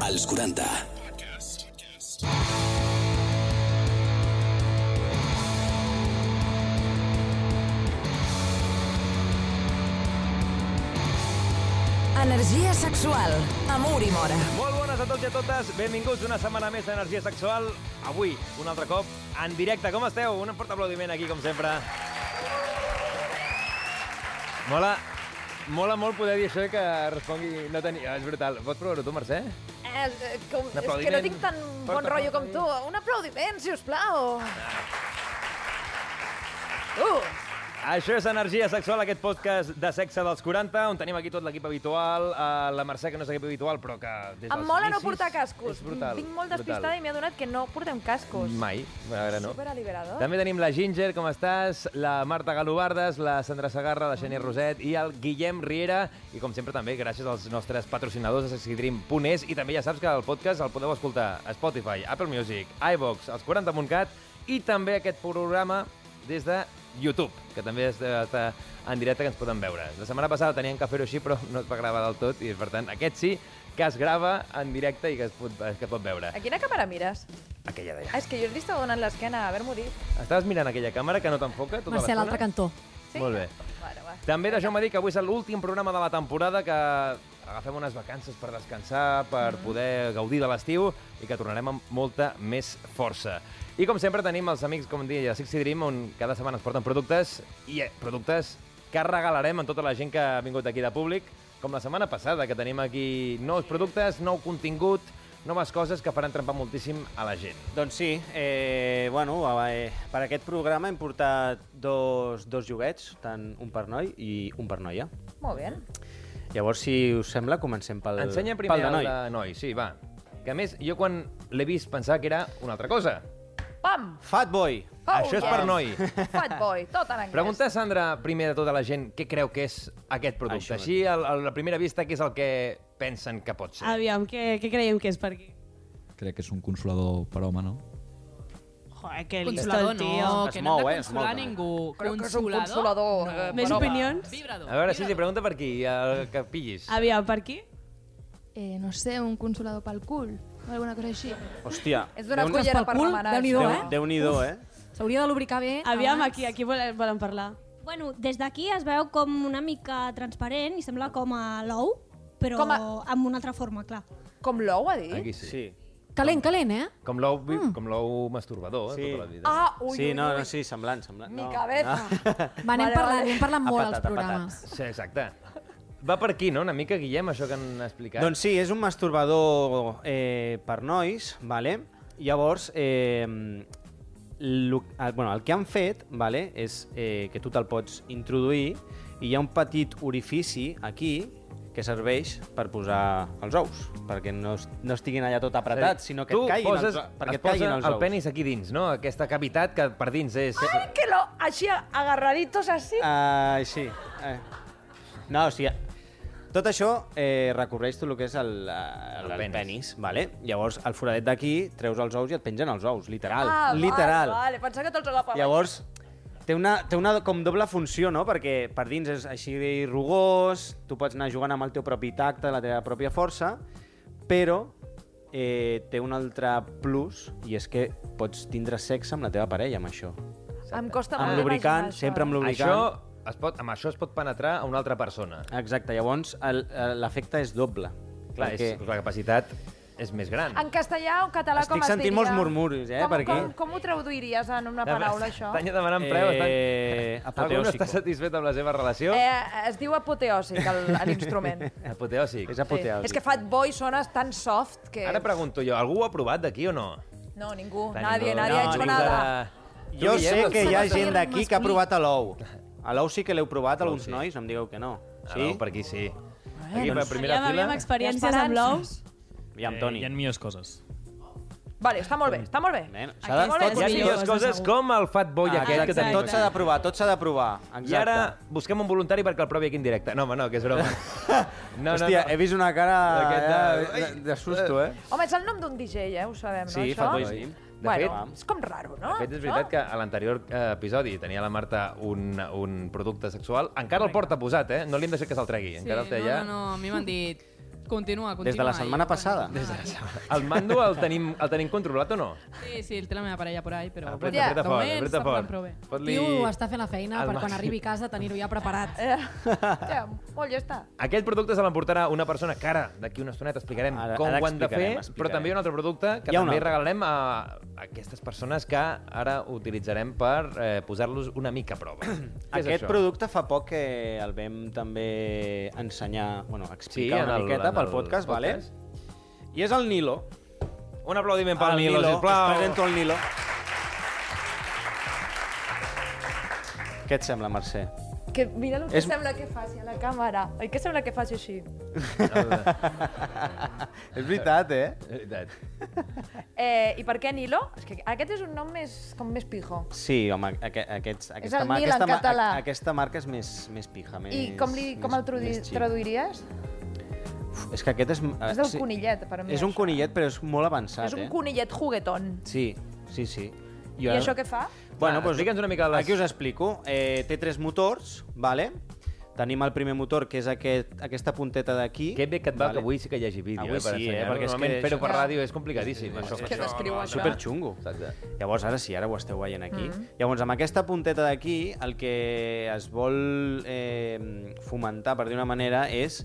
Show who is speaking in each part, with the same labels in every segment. Speaker 1: Als 40.
Speaker 2: Energia sexual. Amor i mora.
Speaker 3: Molt bones a tots i a totes, benvinguts una setmana més a Energia Sexual. Avui, un altre cop, en directe. Com esteu? Un fort aplaudiment aquí, com sempre. Mola, mola molt poder dir això de que respongui... No tenia... És brutal. Pots provar-ho tu, Mercè?
Speaker 4: Eh, eh, com,
Speaker 3: Un
Speaker 4: és que no
Speaker 3: aplaudiment.
Speaker 4: tinc tan
Speaker 3: Fort
Speaker 4: bon rotllo com tu. Un aplaudiment, si us plau. Uh,
Speaker 3: Això és Energia Sexual, aquest podcast de sexe dels 40, on tenim aquí tot l'equip habitual, eh, la Mercè, que no és equip habitual, però que... Des
Speaker 4: em
Speaker 3: dels
Speaker 4: mola no
Speaker 3: inicis
Speaker 4: portar cascos.
Speaker 3: És brutal.
Speaker 4: Vinc molt
Speaker 3: brutal. Mm.
Speaker 4: despistada i m'he adonat que no portem cascos.
Speaker 3: Mai, a veure, no.
Speaker 4: Superaliberador.
Speaker 3: També tenim la Ginger, com estàs? La Marta Galobardes, la Sandra Sagarra, la Xènia Roset i el Guillem Riera. I com sempre també gràcies als nostres patrocinadors de sexydream.es i també ja saps que el podcast el podeu escoltar a Spotify, Apple Music, iVox, els 40.cat i també aquest programa des de YouTube, que també es- està en directe que ens poden veure. La setmana passada tenien que fer-ho així, però no es va gravar del tot i per tant aquest sí que es grava en directe i que es pot, que es pot veure.
Speaker 4: A quina càmera mires?
Speaker 3: Aquella d'allà.
Speaker 4: Ah, és que jo us he donant l'esquena a haver morir.
Speaker 3: Estaves mirant aquella càmera que no t'enfoca
Speaker 5: Mercè,
Speaker 3: tota
Speaker 5: a
Speaker 3: l'estona?
Speaker 5: l'altre cantó.
Speaker 4: Sí?
Speaker 3: Molt bé.
Speaker 4: Bueno, va.
Speaker 3: També deixeu-me dir que avui és l'últim programa de la temporada que agafem unes vacances per descansar,
Speaker 6: Mm.
Speaker 3: per poder gaudir de l'estiu i que tornarem amb molta més força. I com sempre tenim els amics, com dir, de Sixty Dream, on cada setmana ens porten productes i eh, productes que regalarem a tota la gent que ha vingut aquí de públic, com la setmana passada, que tenim aquí nous productes, nou contingut, noves coses que faran trempar moltíssim a la gent.
Speaker 6: Doncs sí, eh, bueno, a- eh, per aquest programa hem portat dos, dos joguets, tant un per noi i un per noia.
Speaker 4: Molt bé.
Speaker 6: Llavors, si us sembla, comencem pel,
Speaker 3: Ensenya
Speaker 6: pel
Speaker 3: primer
Speaker 6: de noi.
Speaker 3: el de noi, sí, va. Que a més, jo quan l'he vist pensava que era una altra cosa.
Speaker 4: Pam!
Speaker 6: Fatboy!
Speaker 4: Oh,
Speaker 3: Això és per
Speaker 4: yes.
Speaker 3: noi.
Speaker 4: Fat boy, tot en anglès.
Speaker 3: Pregunta, Sandra, primer de tota la gent, què creu que és aquest producte?
Speaker 6: Això
Speaker 3: Així, a la- a la primera vista, què és el que pensen que pot ser?
Speaker 5: Aviam, què, què creiem que és per aquí?
Speaker 7: crec que és un consolador per home, no?
Speaker 8: Joder, que listo
Speaker 9: Consolador
Speaker 8: el tío.
Speaker 9: no,
Speaker 6: Es
Speaker 9: que no
Speaker 6: mou,
Speaker 9: hem
Speaker 6: eh,
Speaker 9: de
Speaker 6: es
Speaker 9: consolar a
Speaker 6: mou,
Speaker 9: ningú.
Speaker 4: Creo que és un
Speaker 9: Consolador?
Speaker 4: consolador, eh,
Speaker 9: No.
Speaker 4: Més
Speaker 9: Però va.
Speaker 5: opinions?
Speaker 9: Vibrador.
Speaker 3: A veure, sí, sí,
Speaker 9: vibrador.
Speaker 3: pregunta per aquí, el que pillis.
Speaker 5: Aviam, per aquí?
Speaker 10: eh, no sé, un consolador pel cul o alguna cosa així.
Speaker 6: Hòstia,
Speaker 4: És d'una
Speaker 6: Déu-
Speaker 4: cullera
Speaker 5: pel
Speaker 4: per
Speaker 5: cul,
Speaker 4: remenar.
Speaker 5: Déu-n'hi-do,
Speaker 4: això.
Speaker 5: eh?
Speaker 6: Déu-n'hi-do, eh?
Speaker 5: S'hauria de lubricar bé.
Speaker 8: Aviam,
Speaker 5: abans.
Speaker 8: aquí, aquí volen, volen parlar.
Speaker 11: Bueno, des d'aquí es veu com una mica transparent i sembla com a l'ou, però
Speaker 4: Com
Speaker 11: com
Speaker 4: a-
Speaker 11: a... amb una altra forma, clar.
Speaker 4: Com l'ou, ha dit?
Speaker 3: Aquí sí. sí.
Speaker 6: Sí.
Speaker 5: Calent, calent, eh?
Speaker 3: Com l'ou vi- com l'ou masturbador,
Speaker 6: Sí.
Speaker 3: eh, tota la vida.
Speaker 4: Mm. Ah, ui,
Speaker 6: sí,
Speaker 4: ui,
Speaker 6: no,
Speaker 4: ui.
Speaker 6: no, sí, semblant, semblant.
Speaker 4: Mi
Speaker 6: no,
Speaker 4: cabeza.
Speaker 5: Va, anem
Speaker 4: Vale,
Speaker 5: parlant,
Speaker 4: vale.
Speaker 5: anem parlant molt
Speaker 6: Apatat,
Speaker 5: als programes.
Speaker 3: Sí, exacte. Va per aquí, no?, una mica, Guillem, això que han explicat.
Speaker 6: Doncs sí, és un masturbador eh, per nois, vale? Llavors, eh, lo, eh, bueno, el que han fet vale, és eh, que tu te'l pots introduir i hi ha un petit orifici aquí que serveix per posar els ous, perquè no, es- no estiguin allà tot apretats, sinó que
Speaker 3: Eh, tu
Speaker 6: et caiguin
Speaker 3: poses,
Speaker 6: els,
Speaker 3: es
Speaker 6: perquè et caiguin
Speaker 3: posa
Speaker 6: els
Speaker 3: el
Speaker 6: ous.
Speaker 3: penis aquí dins, no? Aquesta cavitat que per dins és...
Speaker 4: Ay, que lo, així, agarraditos así.
Speaker 6: Ah, sí. Eh. No, o sigui, tot això eh, recobreix tot el que és el, eh,
Speaker 3: El
Speaker 6: el, el,
Speaker 3: penis.
Speaker 6: penis. vale? Llavors, al foradet d'aquí, treus els ous i et pengen els ous, literal.
Speaker 4: Ah,
Speaker 6: literal.
Speaker 4: Vale, vale. Pensava que te'ls agafava.
Speaker 6: Llavors, té una, té una com doble funció, no? Perquè per dins és així rugós, tu pots anar jugant amb el teu propi tacte, la teva pròpia força, però eh, té un altre plus, i és que pots tindre sexe amb la teva parella, amb això.
Speaker 4: Em costa molt
Speaker 6: amb
Speaker 4: imaginar
Speaker 6: lubricant,
Speaker 4: això,
Speaker 6: sempre amb lubricant.
Speaker 3: Això es pot, amb això es pot penetrar a una altra persona.
Speaker 6: Exacte, llavors el- el- l'efecte és doble.
Speaker 3: Clar, és,
Speaker 6: perquè
Speaker 3: la capacitat és més gran.
Speaker 4: En castellà o en català
Speaker 6: Estic
Speaker 4: com es diria?
Speaker 6: sentint molts murmuris, eh,
Speaker 4: com,
Speaker 6: per aquí.
Speaker 4: Com, com ho traduiries en una paraula, això?
Speaker 3: Tanya demanant preu,
Speaker 6: Eh,
Speaker 3: estan... Algú no
Speaker 6: apoteòsico.
Speaker 3: està satisfet amb la seva relació? Eh.
Speaker 4: Eh, es diu apoteòsic, el- l'instrument.
Speaker 3: Apoteòsic.
Speaker 6: és apoteòsic.
Speaker 4: És que Fat Boy sona tan soft que...
Speaker 3: Ara pregunto jo, algú ho ha provat d'aquí o no?
Speaker 4: No, ningú,
Speaker 3: Clar,
Speaker 4: nadie,
Speaker 3: ningú-
Speaker 4: nadie ha hecho
Speaker 3: ningú
Speaker 4: nada.
Speaker 3: de-
Speaker 6: Jo
Speaker 3: Tu,
Speaker 6: sé
Speaker 3: Guillem,
Speaker 6: que hi ha
Speaker 5: Sembla
Speaker 6: gent
Speaker 5: ser
Speaker 6: d'aquí que ha
Speaker 5: masculí.
Speaker 6: provat a l'ou. A l'ou sí que l'heu provat, alguns
Speaker 3: sí.
Speaker 6: nois, no em digueu que no.
Speaker 3: Ah,
Speaker 6: Sí?
Speaker 3: no, per aquí sí. Aquí per primera
Speaker 8: Aviam, aviam
Speaker 3: fila.
Speaker 8: experiències amb l'ous.
Speaker 6: I amb Toni.
Speaker 9: Hi ha millors coses.
Speaker 4: Vale, està molt bé, està molt bé.
Speaker 6: Nen, s'ha de-
Speaker 8: Aquesta
Speaker 6: tot-
Speaker 8: és
Speaker 3: Hi ha
Speaker 8: millor,
Speaker 3: millors
Speaker 8: és
Speaker 3: coses
Speaker 8: segur.
Speaker 3: com el fat boy
Speaker 6: Ah,
Speaker 3: aquest que
Speaker 6: exacte,
Speaker 3: tenim.
Speaker 6: tot s'ha de provar, tot s'ha de provar. Exacte.
Speaker 3: I ara busquem un voluntari perquè el provi aquí en directe. No, home, no, que és broma. No, no,
Speaker 6: Hòstia, he
Speaker 3: no.
Speaker 6: vist una cara
Speaker 3: Aquest de-
Speaker 6: eh, de, de susto, eh?
Speaker 4: Home, és el nom d'un DJ, eh? Ho sabem, no,
Speaker 6: Sí,
Speaker 4: això?
Speaker 6: Fatboy Slim.
Speaker 3: De
Speaker 4: Bueno,
Speaker 3: fet-
Speaker 4: és com raro, no?
Speaker 3: De fet, és veritat que a l'anterior eh, episodi tenia la Marta un, un producte sexual. Encara el porta posat, eh? No li hem deixat que se'l tregui. Encara el té allà.
Speaker 9: no, no, no, a mi m'han dit... Continua, continua.
Speaker 6: Des
Speaker 4: eh?
Speaker 6: de la setmana
Speaker 9: i-
Speaker 6: passada.
Speaker 9: Des de
Speaker 6: la setmana.
Speaker 3: El mando el tenim, el tenim controlat o no?
Speaker 9: Sí, sí, el té la meva parella por ahí, però...
Speaker 3: Apreta,
Speaker 9: bueno,
Speaker 3: apreta
Speaker 9: de
Speaker 3: fort,
Speaker 9: moment
Speaker 3: apreta
Speaker 9: està en plan
Speaker 3: fort.
Speaker 9: prou bé.
Speaker 3: Fot-li-
Speaker 5: Tio, està fent la feina
Speaker 3: Al Eh,
Speaker 5: per quan
Speaker 3: màxim.
Speaker 5: arribi a casa tenir-ho ja preparat.
Speaker 4: Ja, molt ja està.
Speaker 3: Aquest producte se l'emportarà una persona que ara, d'aquí una estoneta, explicarem
Speaker 6: Ara-
Speaker 3: com
Speaker 6: ara
Speaker 3: ho han de fer,
Speaker 6: explicarem, explicarem.
Speaker 3: però també hi ha un altre producte que
Speaker 6: Hi ha un
Speaker 3: també
Speaker 6: altre.
Speaker 3: regalarem a aquestes persones que ara utilitzarem per eh, posar-los una mica a prova. Què és
Speaker 6: Aquest
Speaker 3: això?
Speaker 6: producte fa poc que el vam també ensenyar, bueno, explicar
Speaker 3: Sí, en
Speaker 6: una
Speaker 3: el-
Speaker 6: miqueta
Speaker 3: en
Speaker 6: pel
Speaker 3: el
Speaker 6: podcast, vale?
Speaker 3: podcast.
Speaker 6: I és el Nilo.
Speaker 3: Un aplaudiment
Speaker 6: Ah,
Speaker 3: pel Nilo, sisplau.
Speaker 6: us Presento el Nilo. Què et sembla, Mercè?
Speaker 4: Que mira el que
Speaker 6: És-
Speaker 4: sembla que faci a la càmera. Oi que sembla que faci així?
Speaker 6: és veritat, eh?
Speaker 3: És veritat.
Speaker 4: Eh, I per què Nilo? És que aquest és un nom més, com més pijo.
Speaker 6: Sí, home, aqu aquests, aquesta,
Speaker 4: el
Speaker 6: ma-
Speaker 4: Nil en
Speaker 6: aquesta, ma-
Speaker 4: català.
Speaker 6: a- aquesta marca és més, més pija, més...
Speaker 4: I com, li, com el tradu
Speaker 6: més chic.
Speaker 4: traduiries?
Speaker 6: És que aquest és... eh,
Speaker 4: És del conillet, per mi.
Speaker 6: És un
Speaker 4: això.
Speaker 6: conillet, però és molt avançat,
Speaker 4: És un
Speaker 6: eh?
Speaker 4: conillet juguetón.
Speaker 6: Sí, sí, sí.
Speaker 4: I, I això què fa?
Speaker 6: Bueno,
Speaker 3: Va,
Speaker 6: doncs,
Speaker 3: explica'ns una mica les-
Speaker 6: Aquí us explico. Eh, té tres motors, vale? Tenim el primer motor, que és aquest, aquesta punteta d'aquí.
Speaker 3: Que bé que et va, que avui sí que hi hagi vídeo.
Speaker 6: Avui
Speaker 3: eh, per
Speaker 6: sí, eh,
Speaker 3: ensenyar-ho.
Speaker 6: perquè és que
Speaker 3: Normalment
Speaker 6: això-
Speaker 3: fer-ho per ràdio és complicadíssim. això,
Speaker 6: és
Speaker 3: això,
Speaker 6: que
Speaker 9: descriu
Speaker 3: va,
Speaker 9: a
Speaker 3: va.
Speaker 6: Superxungo.
Speaker 3: Exacte.
Speaker 6: Llavors, ara sí, ara ho esteu veient aquí. Mm. Llavors, amb aquesta punteta d'aquí, el que es vol eh, fomentar, per dir una manera, és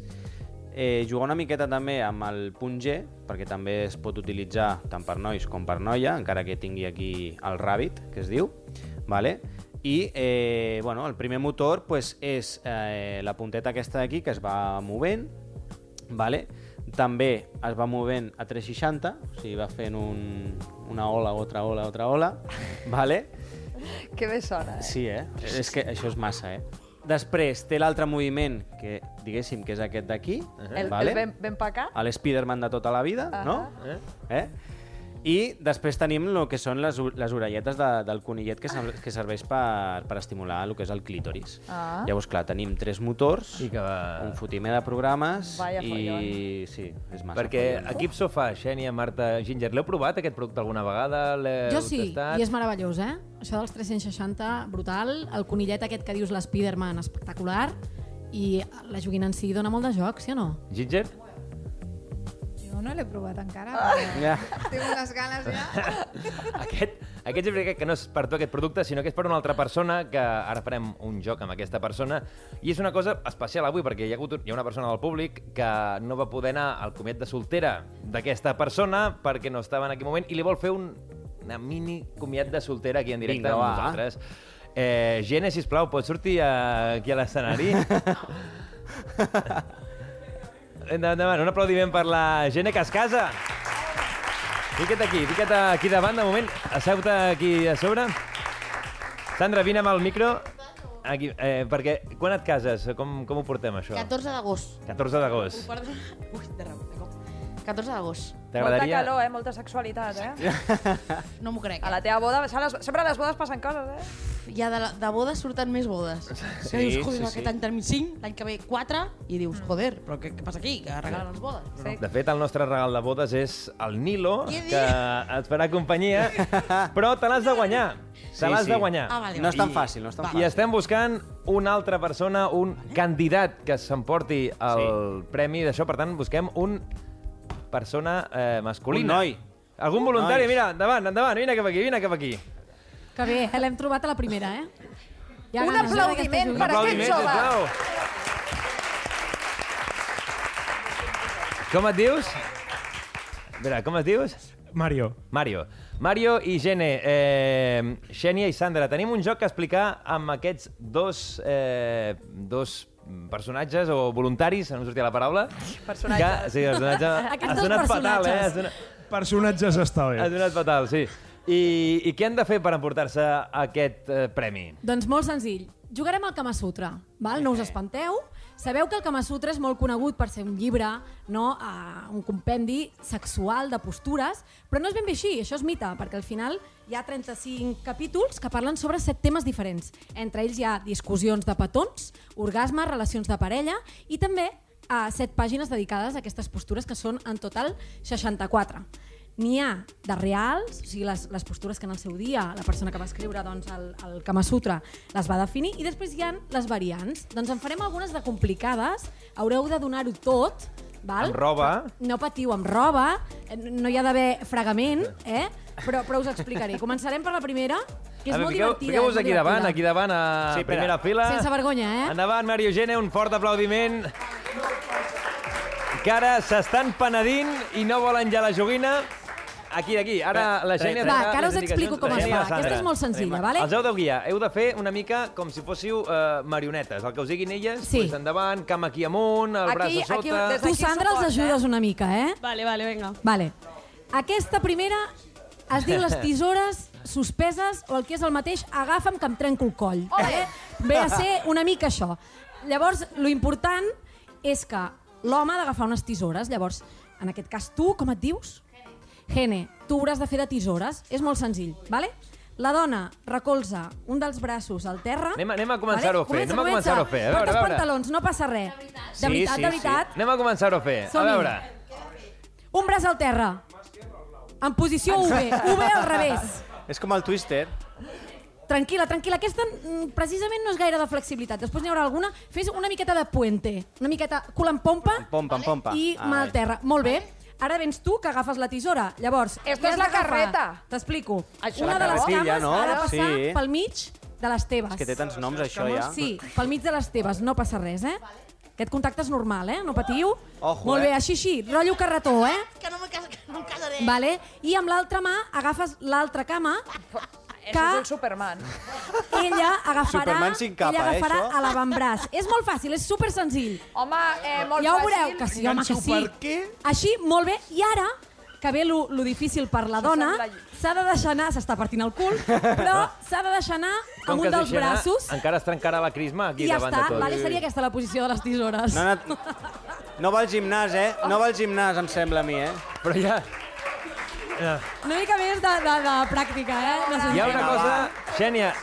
Speaker 6: eh, jugar una miqueta també amb el punt G, perquè també es pot utilitzar tant per nois com per noia, encara que tingui aquí el Rabbit, que es diu, vale? i eh, bueno, el primer motor pues, és eh, la punteta aquesta d'aquí, que es va movent, Vale? També es va movent a 360, o sigui, va fent un, una ola, otra ola, otra ola. Vale?
Speaker 4: Que bé sona, eh?
Speaker 6: Sí, eh? És que això és massa, eh? Després té l'altre moviment, que diguéssim que és aquest d'aquí, uh
Speaker 4: El,
Speaker 6: vale? Ah,
Speaker 4: el ben, ben pa acá?
Speaker 6: l'Spiderman de tota la vida,
Speaker 4: Ahà.
Speaker 6: no?
Speaker 3: Eh?
Speaker 6: Eh? I després tenim el que són les, o- les orelletes de, del conillet que, sem- que serveix per, per estimular el que és el clítoris.
Speaker 4: Ah.
Speaker 6: Llavors, clar, tenim tres motors,
Speaker 3: I que va-
Speaker 6: un fotimer de programes
Speaker 4: Vaya
Speaker 6: i... Sí, és massa
Speaker 3: Perquè
Speaker 6: follon.
Speaker 3: Equip Sofà, Xènia, Marta, Ginger, l'heu provat aquest producte alguna vegada? L'heu
Speaker 5: Jo sí,
Speaker 3: testat?
Speaker 5: i és meravellós, eh? Això dels 360, brutal. El conillet aquest que dius, l'Spiderman, espectacular. I la joguina en si dona molt de joc, sí o no?
Speaker 3: Ginger?
Speaker 12: Jo no l'he provat encara, però
Speaker 6: Ja.
Speaker 12: tinc unes ganes ja.
Speaker 3: Aquest, aquest és veritat que no és per tu aquest producte, sinó que és per una altra persona, que ara farem un joc amb aquesta persona. I és una cosa especial avui, perquè hi ha, hagut, hi ha una persona del públic que no va poder anar al comiat de soltera d'aquesta persona perquè no estava en aquell moment i li vol fer un, una mini comiat de soltera aquí en directe
Speaker 6: Vinga,
Speaker 3: amb
Speaker 6: va.
Speaker 3: nosaltres. Eh, Gene, sisplau, pots sortir eh, aquí a l'escenari? Endavant, endavant. Un aplaudiment per la Gene que es casa. Fica't aquí, fica't aquí davant, de moment. Asseu-te aquí a sobre. Sandra, vine amb el micro. Aquí, eh, perquè quan et cases? Com, com ho portem, això?
Speaker 13: 14 d'agost.
Speaker 3: 14 d'agost.
Speaker 13: Perdó. Ui, de raó, de cop. 14 d'agost.
Speaker 4: Molta
Speaker 3: T'agradaria...
Speaker 4: calor, eh? Molta sexualitat, eh?
Speaker 13: No m'ho crec.
Speaker 4: A la teva boda, a les, sempre a les bodes passen coses, eh?
Speaker 13: Ja de, la, de bodes surten més bodes.
Speaker 6: Sí,
Speaker 13: que dius, joder,
Speaker 6: sí,
Speaker 13: aquest
Speaker 6: sí.
Speaker 13: any tenim 5, l'any que ve 4, i dius, joder, però què, què passa aquí? Que regalen les bodes. Però
Speaker 3: De fet, el nostre regal de bodes és el Nilo,
Speaker 13: Què
Speaker 3: que et farà companyia, però te l'has de guanyar. Te
Speaker 6: Sí,
Speaker 3: l'has de
Speaker 6: sí.
Speaker 3: guanyar.
Speaker 13: Ah, vale,
Speaker 6: No és tan fàcil, no és
Speaker 3: I
Speaker 6: tan fàcil.
Speaker 3: estem buscant una altra persona, un candidat que s'emporti el premi d'això. Per tant, busquem un persona eh, masculina.
Speaker 6: Un noi.
Speaker 3: Algun voluntari,
Speaker 6: Nois.
Speaker 3: mira, endavant, endavant, vine cap aquí, vine cap aquí.
Speaker 5: Que bé, eh? l'hem trobat a la primera, eh? Hi ha
Speaker 4: Un
Speaker 5: ganes, eh, d'aquesta
Speaker 4: aplaudiment
Speaker 5: joguina.
Speaker 4: per aquest
Speaker 3: aplaudiment,
Speaker 4: jove.
Speaker 3: sisplau. Com et dius? Mira, com et dius?
Speaker 14: Mario.
Speaker 3: Mario. Mario i Gene, eh, Xènia i Sandra, tenim un joc que explicar amb aquests dos, eh, dos personatges o voluntaris, no em sortia la paraula.
Speaker 4: Personatges.
Speaker 3: Que, sí, personatge.
Speaker 4: Aquests
Speaker 3: Has
Speaker 4: dos
Speaker 3: donat fatal, eh?
Speaker 4: personatges.
Speaker 3: Has donat,
Speaker 14: Personatges està bé.
Speaker 3: has donat fatal, sí. I, I què han de fer per emportar-se aquest eh, premi?
Speaker 5: Doncs molt senzill. Jugarem al Kama Sutra, val? no us espanteu. Sabeu que el Kama Sutra és molt conegut per ser un llibre, no? Uh, un compendi sexual de postures, però no és ben bé així, això és mite, perquè al final hi ha 35 capítols que parlen sobre set temes diferents. Entre ells hi ha discussions de petons, orgasmes, relacions de parella i eh, també a set pàgines dedicades a aquestes postures que són en total 64. n'hi ha de reals, o sigui, les, les postures que en el seu dia la persona que va escriure doncs, el, el Kama Sutra les va definir, i després hi ha les variants. Doncs en farem algunes de complicades, haureu de donar-ho tot, val?
Speaker 3: Amb roba.
Speaker 5: No patiu, amb roba, eh, no hi ha d'haver fregament, eh? però, però us explicaré. Començarem per la primera, que és
Speaker 3: A veure,
Speaker 5: molt
Speaker 3: fiqueu-
Speaker 5: divertida. és
Speaker 3: Fiqueu-vos
Speaker 5: molt
Speaker 3: aquí davant,
Speaker 5: divertida.
Speaker 3: aquí davant, a
Speaker 6: Sí, espera.
Speaker 3: primera fila.
Speaker 5: Sense vergonya, eh?
Speaker 3: Endavant, Mario Gene, un fort aplaudiment. Que ara s'estan penedint i no volen ja la joguina. Aquí, d'aquí. Ara la Gene...
Speaker 5: Va, que ara us explico com es fa. Aquesta és molt senzilla, vale?
Speaker 3: Els heu de guiar. Heu de fer una mica com si fóssiu eh, marionetes. El que us diguin elles, sí. pues endavant, cam aquí amunt, el braç a sota...
Speaker 5: tu, Sandra, els ajudes una mica, eh?
Speaker 8: Vale, vale, venga.
Speaker 5: Vale. Aquesta primera es diu les tisores suspeses o el que és el mateix, agafa'm que em trenco el coll. Eh? Ve a ser una mica això. Llavors, lo important és que l'home ha d'agafar unes tisores. Llavors, en aquest cas, tu, com et dius? Gene, tu hauràs de fer de tisores. És molt senzill, vale? La dona recolza un dels braços al terra.
Speaker 3: Anem, anem a començar-ho a fer.
Speaker 5: Comença,
Speaker 3: anem a
Speaker 5: comença.
Speaker 3: començar-ho a fer. A veure,
Speaker 5: Portes
Speaker 3: a veure.
Speaker 5: pantalons, no passa res. De veritat, de veritat.
Speaker 3: Anem a començar-ho a fer. A
Speaker 5: Som-hi.
Speaker 3: veure.
Speaker 5: Un braç al terra. En posició UV, UV al revés.
Speaker 6: És com el Twister.
Speaker 5: Tranquil·la, tranquil·la. Aquesta mm, precisament no és gaire de flexibilitat. Després n'hi haurà alguna. Fes una miqueta de puente, una miqueta cul en pompa
Speaker 6: Pompa, pompa.
Speaker 5: i mà al terra. Molt bé. Ara vens tu, que agafes la tisora. Llavors,
Speaker 4: Esto
Speaker 5: què has
Speaker 4: es la
Speaker 5: d'agafar?
Speaker 4: carreta.
Speaker 5: T'explico.
Speaker 6: Això
Speaker 5: Una
Speaker 6: la
Speaker 5: de les
Speaker 6: carretilla,
Speaker 5: cames
Speaker 6: no?
Speaker 5: ha de passar
Speaker 6: Sí.
Speaker 5: pel mig de les teves.
Speaker 6: És que té tants noms, això, ja.
Speaker 5: Sí, pel mig de les teves, no passa res, eh? Aquest contacte és normal, eh? No patiu.
Speaker 6: Ojo,
Speaker 5: Molt bé,
Speaker 6: eh?
Speaker 5: així, així, rotllo carretó, eh?
Speaker 13: Que no me cas- que no em casaré.
Speaker 5: Vale? I amb l'altra mà agafes l'altra cama
Speaker 4: Això és
Speaker 5: que
Speaker 4: un Superman.
Speaker 5: ella agafarà,
Speaker 6: Superman sin capa,
Speaker 5: ella agafarà
Speaker 6: eh, això?
Speaker 5: a l'avantbraç. És molt fàcil, és super senzill.
Speaker 4: Home, eh, molt
Speaker 5: ja ho
Speaker 4: fàcil.
Speaker 5: veureu que sí, home, que sí.
Speaker 4: Enganxo per
Speaker 5: Així, molt bé. I ara, que ve lo, lo difícil per la
Speaker 4: Això
Speaker 5: dona,
Speaker 4: sembla-
Speaker 5: s'ha de deixar anar, s'està partint el cul, però s'ha de deixar anar amb
Speaker 3: Com que
Speaker 5: un
Speaker 3: es
Speaker 5: dels
Speaker 3: deixa anar,
Speaker 5: braços
Speaker 3: Encara es trencarà la crisma aquí
Speaker 5: i ja
Speaker 3: davant
Speaker 5: està.
Speaker 3: de tot.
Speaker 5: Vale, seria aquesta la posició de les tisores.
Speaker 6: No, ha anat... no va al gimnàs, eh? No va al gimnàs, em sembla a mi, eh?
Speaker 3: Però ja...
Speaker 5: Una mica més de, de, de pràctica, eh?
Speaker 3: Hi ha una
Speaker 5: Necessitem.
Speaker 3: cosa... Xènia,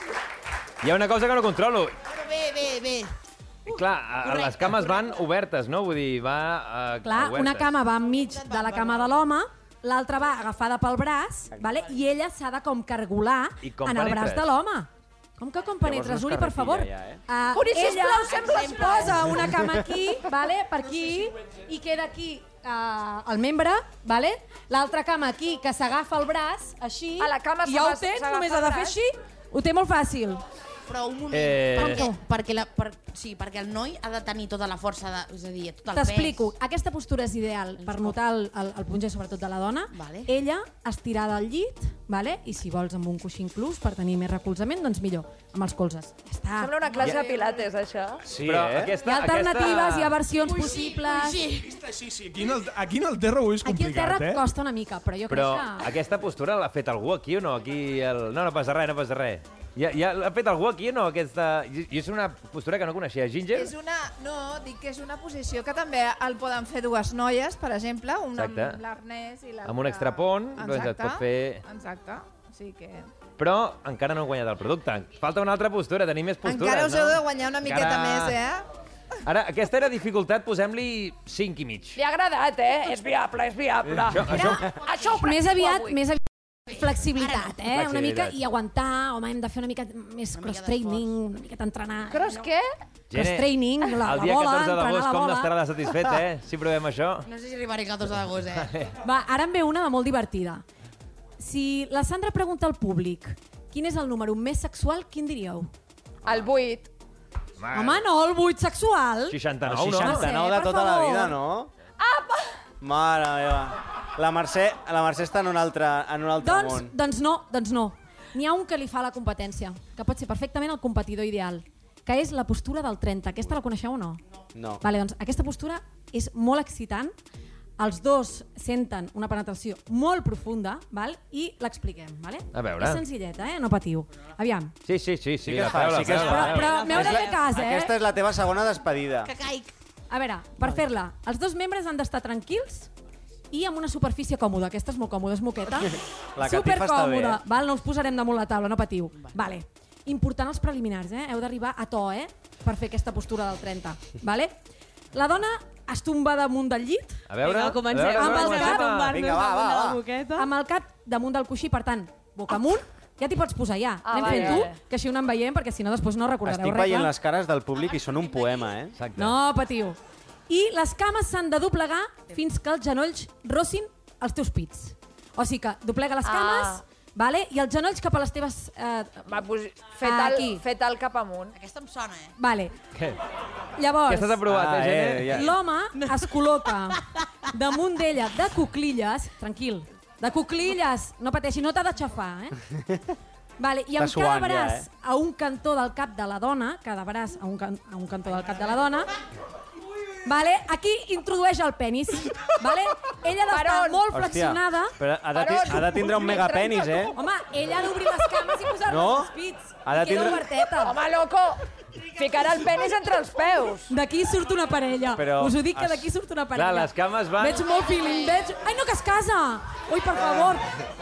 Speaker 3: hi ha una cosa que no controlo.
Speaker 13: Bueno, bé, bé, bé.
Speaker 3: Clar, a- a les cames van obertes, no? Vull dir, va... eh,
Speaker 5: Clar,
Speaker 3: obertes.
Speaker 5: una cama va enmig de la cama de l'home, l'altra va agafada pel braç, vale? i ella s'ha de com cargolar
Speaker 3: I com
Speaker 5: en el
Speaker 3: penetres?
Speaker 5: braç de l'home. Com que com penetres,
Speaker 3: no és
Speaker 5: Uri, per favor?
Speaker 3: carretilla, ja, eh?
Speaker 5: Uh,
Speaker 4: Uri, sisplau, sembla
Speaker 5: es posa una cama aquí, vale? per aquí, i queda aquí uh, el membre, vale? l'altra cama aquí, que s'agafa el braç, així,
Speaker 4: A la cama
Speaker 5: i ja ho
Speaker 4: s'agafa-
Speaker 5: tens,
Speaker 4: s'agafa
Speaker 5: només
Speaker 4: el
Speaker 5: ha de fer
Speaker 4: braç.
Speaker 5: així, ho té molt fàcil.
Speaker 13: Però un moment, eh...
Speaker 5: Eh. Com
Speaker 13: perquè,
Speaker 5: tu.
Speaker 13: perquè, la, per, sí, perquè el noi ha de tenir tota la força, de, és a dir, tot el pes.
Speaker 5: T'explico. Aquesta postura és ideal per notar el, el, el punter, sobretot de la dona.
Speaker 13: Vale.
Speaker 5: Ella estirada al llit, vale? i si vols amb un coixí inclús per tenir més recolzament, doncs millor, amb els colzes. Ja està.
Speaker 4: Sembla una classe de pilates, això.
Speaker 3: Sí, Però eh? aquesta,
Speaker 5: Hi ha alternatives,
Speaker 3: aquesta...
Speaker 5: hi ha versions possibles.
Speaker 14: Sí, sí, aquí en el, aquí en el terra ho és
Speaker 5: Aquí el
Speaker 14: complicat,
Speaker 5: terra
Speaker 14: eh?
Speaker 5: costa una mica, però jo
Speaker 3: Però
Speaker 5: crec que...
Speaker 3: aquesta postura l'ha fet algú aquí o no? Aquí el... No, no passa res, no passa res. Ja, ja l'ha fet algú aquí o no? Aquesta... Jo, jo és una postura que no coneixia. Ginger?
Speaker 12: És una, no, dic que és una posició que també el poden fer dues noies, per exemple, una
Speaker 3: Exacte.
Speaker 12: amb l'arnès i l'altra...
Speaker 3: Amb un extrapont, doncs et pot fer-
Speaker 12: Exacte, sí que...
Speaker 3: Però encara no hem guanyat el producte. Falta una altra postura, tenim més postures,
Speaker 12: Encara us
Speaker 3: no?
Speaker 12: heu de guanyar una miqueta
Speaker 3: Encara-
Speaker 12: més, eh?
Speaker 3: Ara, aquesta era dificultat, posem-li 5 i mig.
Speaker 4: Li ha agradat, eh? És viable, és viable.
Speaker 3: Això- això-
Speaker 4: això ho
Speaker 5: Més
Speaker 4: practico
Speaker 5: aviat,
Speaker 4: avui.
Speaker 5: més aviat flexibilitat, eh? Una mica
Speaker 3: Flexibilitat.
Speaker 5: i aguantar, home, hem de fer una mica més cross-training, una miqueta entrenar. Cross què? Cross-training, la,
Speaker 3: el
Speaker 5: la
Speaker 3: dia
Speaker 5: bola,
Speaker 3: 14
Speaker 5: entrenar
Speaker 3: d'agost
Speaker 5: la
Speaker 3: com
Speaker 5: bola.
Speaker 3: n'estarà de satisfet, eh? Si provem això.
Speaker 13: No sé si arribaré el 14 d'agost, eh?
Speaker 5: Va, ara en ve una de molt divertida. Si la Sandra pregunta al públic quin és el número més sexual, quin diríeu?
Speaker 4: El 8.
Speaker 5: Home, no, el buit sexual.
Speaker 3: 69,
Speaker 6: El 69 de
Speaker 5: Mercè, per
Speaker 6: tota la
Speaker 5: favor.
Speaker 6: vida, no? Apa! Mare meva. La Mercè, la Mercè està en un altre, en un altre
Speaker 5: Doncs,
Speaker 6: món.
Speaker 5: doncs no, doncs no. N'hi ha un que li fa la competència, que pot ser perfectament el competidor ideal, que és la postura del 30. Aquesta la coneixeu o no?
Speaker 6: No.
Speaker 5: Vale, doncs aquesta postura és molt excitant. Els dos senten una penetració molt profunda val? i l'expliquem. Vale?
Speaker 3: A veure.
Speaker 5: És senzilleta, eh? no patiu. Aviam.
Speaker 3: Sí, sí, sí, sí,
Speaker 6: que
Speaker 3: la
Speaker 6: fa,
Speaker 3: paraula,
Speaker 6: sí que es
Speaker 3: la
Speaker 6: fa.
Speaker 3: paraula.
Speaker 5: Però m'heu de
Speaker 6: És la-
Speaker 5: fer cas, eh?
Speaker 6: Aquesta és la teva segona despedida.
Speaker 13: caic.
Speaker 5: A veure, per fer-la, els dos membres han d'estar tranquils i amb una superfície còmoda. Aquesta és molt còmoda, és moqueta.
Speaker 6: La catifa està bé,
Speaker 5: Supercòmoda.
Speaker 6: eh?
Speaker 5: Val, no us posarem damunt la taula, no patiu. Vale. Important els preliminars, eh? Heu d'arribar a to, eh? Per fer aquesta postura del 30. Vale? La dona es tomba damunt del llit.
Speaker 3: A veure, Vinga, comencem. a veure,
Speaker 5: amb el
Speaker 3: comencem
Speaker 5: cap,
Speaker 3: a- Vinga, va, va, va.
Speaker 5: Amb el cap damunt del coixí, per tant, boca amunt, ja t'hi pots posar ja.
Speaker 4: Ah,
Speaker 5: Anem
Speaker 4: vale,
Speaker 5: fent tu,
Speaker 4: vale.
Speaker 5: que així no en veiem, perquè si no després no recordareu
Speaker 6: Estic
Speaker 5: res.
Speaker 6: veient
Speaker 5: clar.
Speaker 6: les cares del públic i són un poema, eh?
Speaker 3: Exacte.
Speaker 5: No, patiu. I les cames s'han de doblegar fins que els genolls rossin els teus pits. O sigui que doblega les
Speaker 4: Ah.
Speaker 5: cames, vale? i els genolls cap a les teves... Eh,
Speaker 4: Va, pues, fet, el,
Speaker 5: Ah, Aquí.
Speaker 4: fet el cap amunt.
Speaker 13: Aquesta em sona, eh?
Speaker 5: Vale.
Speaker 3: Què?
Speaker 5: Llavors,
Speaker 3: Ja estàs aprovat, eh,
Speaker 6: Ah,
Speaker 3: Gené?
Speaker 6: eh, ja.
Speaker 5: l'home es col·loca damunt d'ella de cuclilles, tranquil, de cuclilles, no pateixi, no t'ha d'aixafar, eh? Vale, I
Speaker 13: Està
Speaker 5: amb cada
Speaker 13: suant ja,
Speaker 5: braç
Speaker 13: eh?
Speaker 5: a un cantó del cap de la dona, cada braç a un, can a un cantó del cap de la dona, vale, aquí introdueix el penis. Vale? Ella ha d'estar molt flexionada.
Speaker 6: però ha de, ti- ha de tindre un megapenis, eh?
Speaker 5: Home, ella ha d'obrir les cames i posar-les
Speaker 6: No.
Speaker 5: als pits.
Speaker 6: Ha de
Speaker 5: I queda
Speaker 6: tindre-
Speaker 5: oberteta. Home, loco! Ficarà el penis entre els peus. D'aquí surt una parella.
Speaker 3: Però
Speaker 5: Us ho dic que
Speaker 3: es-
Speaker 5: d'aquí surt una parella.
Speaker 3: Clar, les cames van...
Speaker 5: Veig molt feeling, veig... Ai, no, que es casa! Ui, per favor,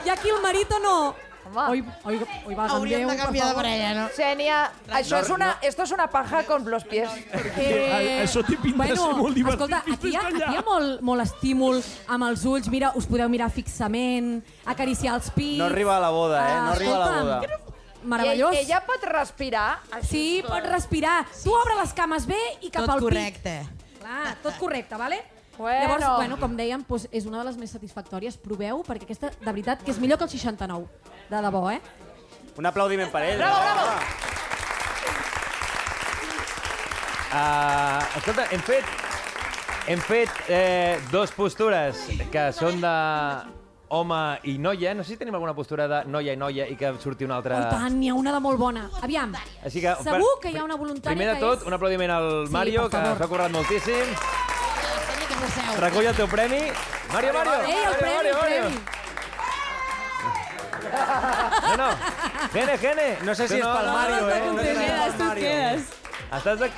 Speaker 5: i aquí el marit o no? Home. Oi, oi, oi, va,
Speaker 4: Hauríem de canviar de parella, no? Xènia,
Speaker 5: No,
Speaker 4: això és una, esto es una paja con los pies.
Speaker 14: Eh, això té pinta de
Speaker 5: bueno,
Speaker 14: ser molt divertit.
Speaker 5: Escolta, aquí hi ha, aquí hi ha molt, molt estímul amb els ulls. Mira, us podeu mirar fixament, acariciar els pits.
Speaker 6: No arriba a la boda, eh?
Speaker 5: Ah,
Speaker 6: No arriba a la
Speaker 5: escolta'm.
Speaker 6: boda.
Speaker 5: Meravellós.
Speaker 4: I ell- ella pot respirar?
Speaker 5: Sí, pot respirar. Tu obre les cames bé i cap
Speaker 13: Tot
Speaker 5: al
Speaker 13: correcte.
Speaker 5: pic. Clar, tot correcte, vale?
Speaker 4: Bueno.
Speaker 5: Llavors, bueno, com dèiem, doncs és una de les més satisfactòries. Proveu, perquè aquesta, de veritat, que és millor que el 69. De debò, eh?
Speaker 6: Un aplaudiment per ell. eh?
Speaker 5: Bravo,
Speaker 6: bravo!
Speaker 3: Uh, escolta, hem fet, hem fet eh, dos postures que són de home i noia. No sé si tenim alguna postura de noia i noia i que surti una altra...
Speaker 5: I tant, Ah, n'hi ha una de molt bona. Aviam,
Speaker 3: Així que,
Speaker 5: segur que hi ha una voluntària
Speaker 3: Primer de
Speaker 5: que
Speaker 3: tot,
Speaker 5: és...
Speaker 3: un aplaudiment al
Speaker 5: Sí, per
Speaker 3: Mario, que
Speaker 5: favor.
Speaker 3: s'ha currat moltíssim. Recull el teu premi. Mario, Mario!
Speaker 5: Ei, el premi, el premi.
Speaker 3: No, no. Gene, Gene.
Speaker 6: No sé si
Speaker 3: Tu
Speaker 6: és pel Mario, eh? No sé si és pel Quedes, tu Mario. quedes.
Speaker 3: Estàs de...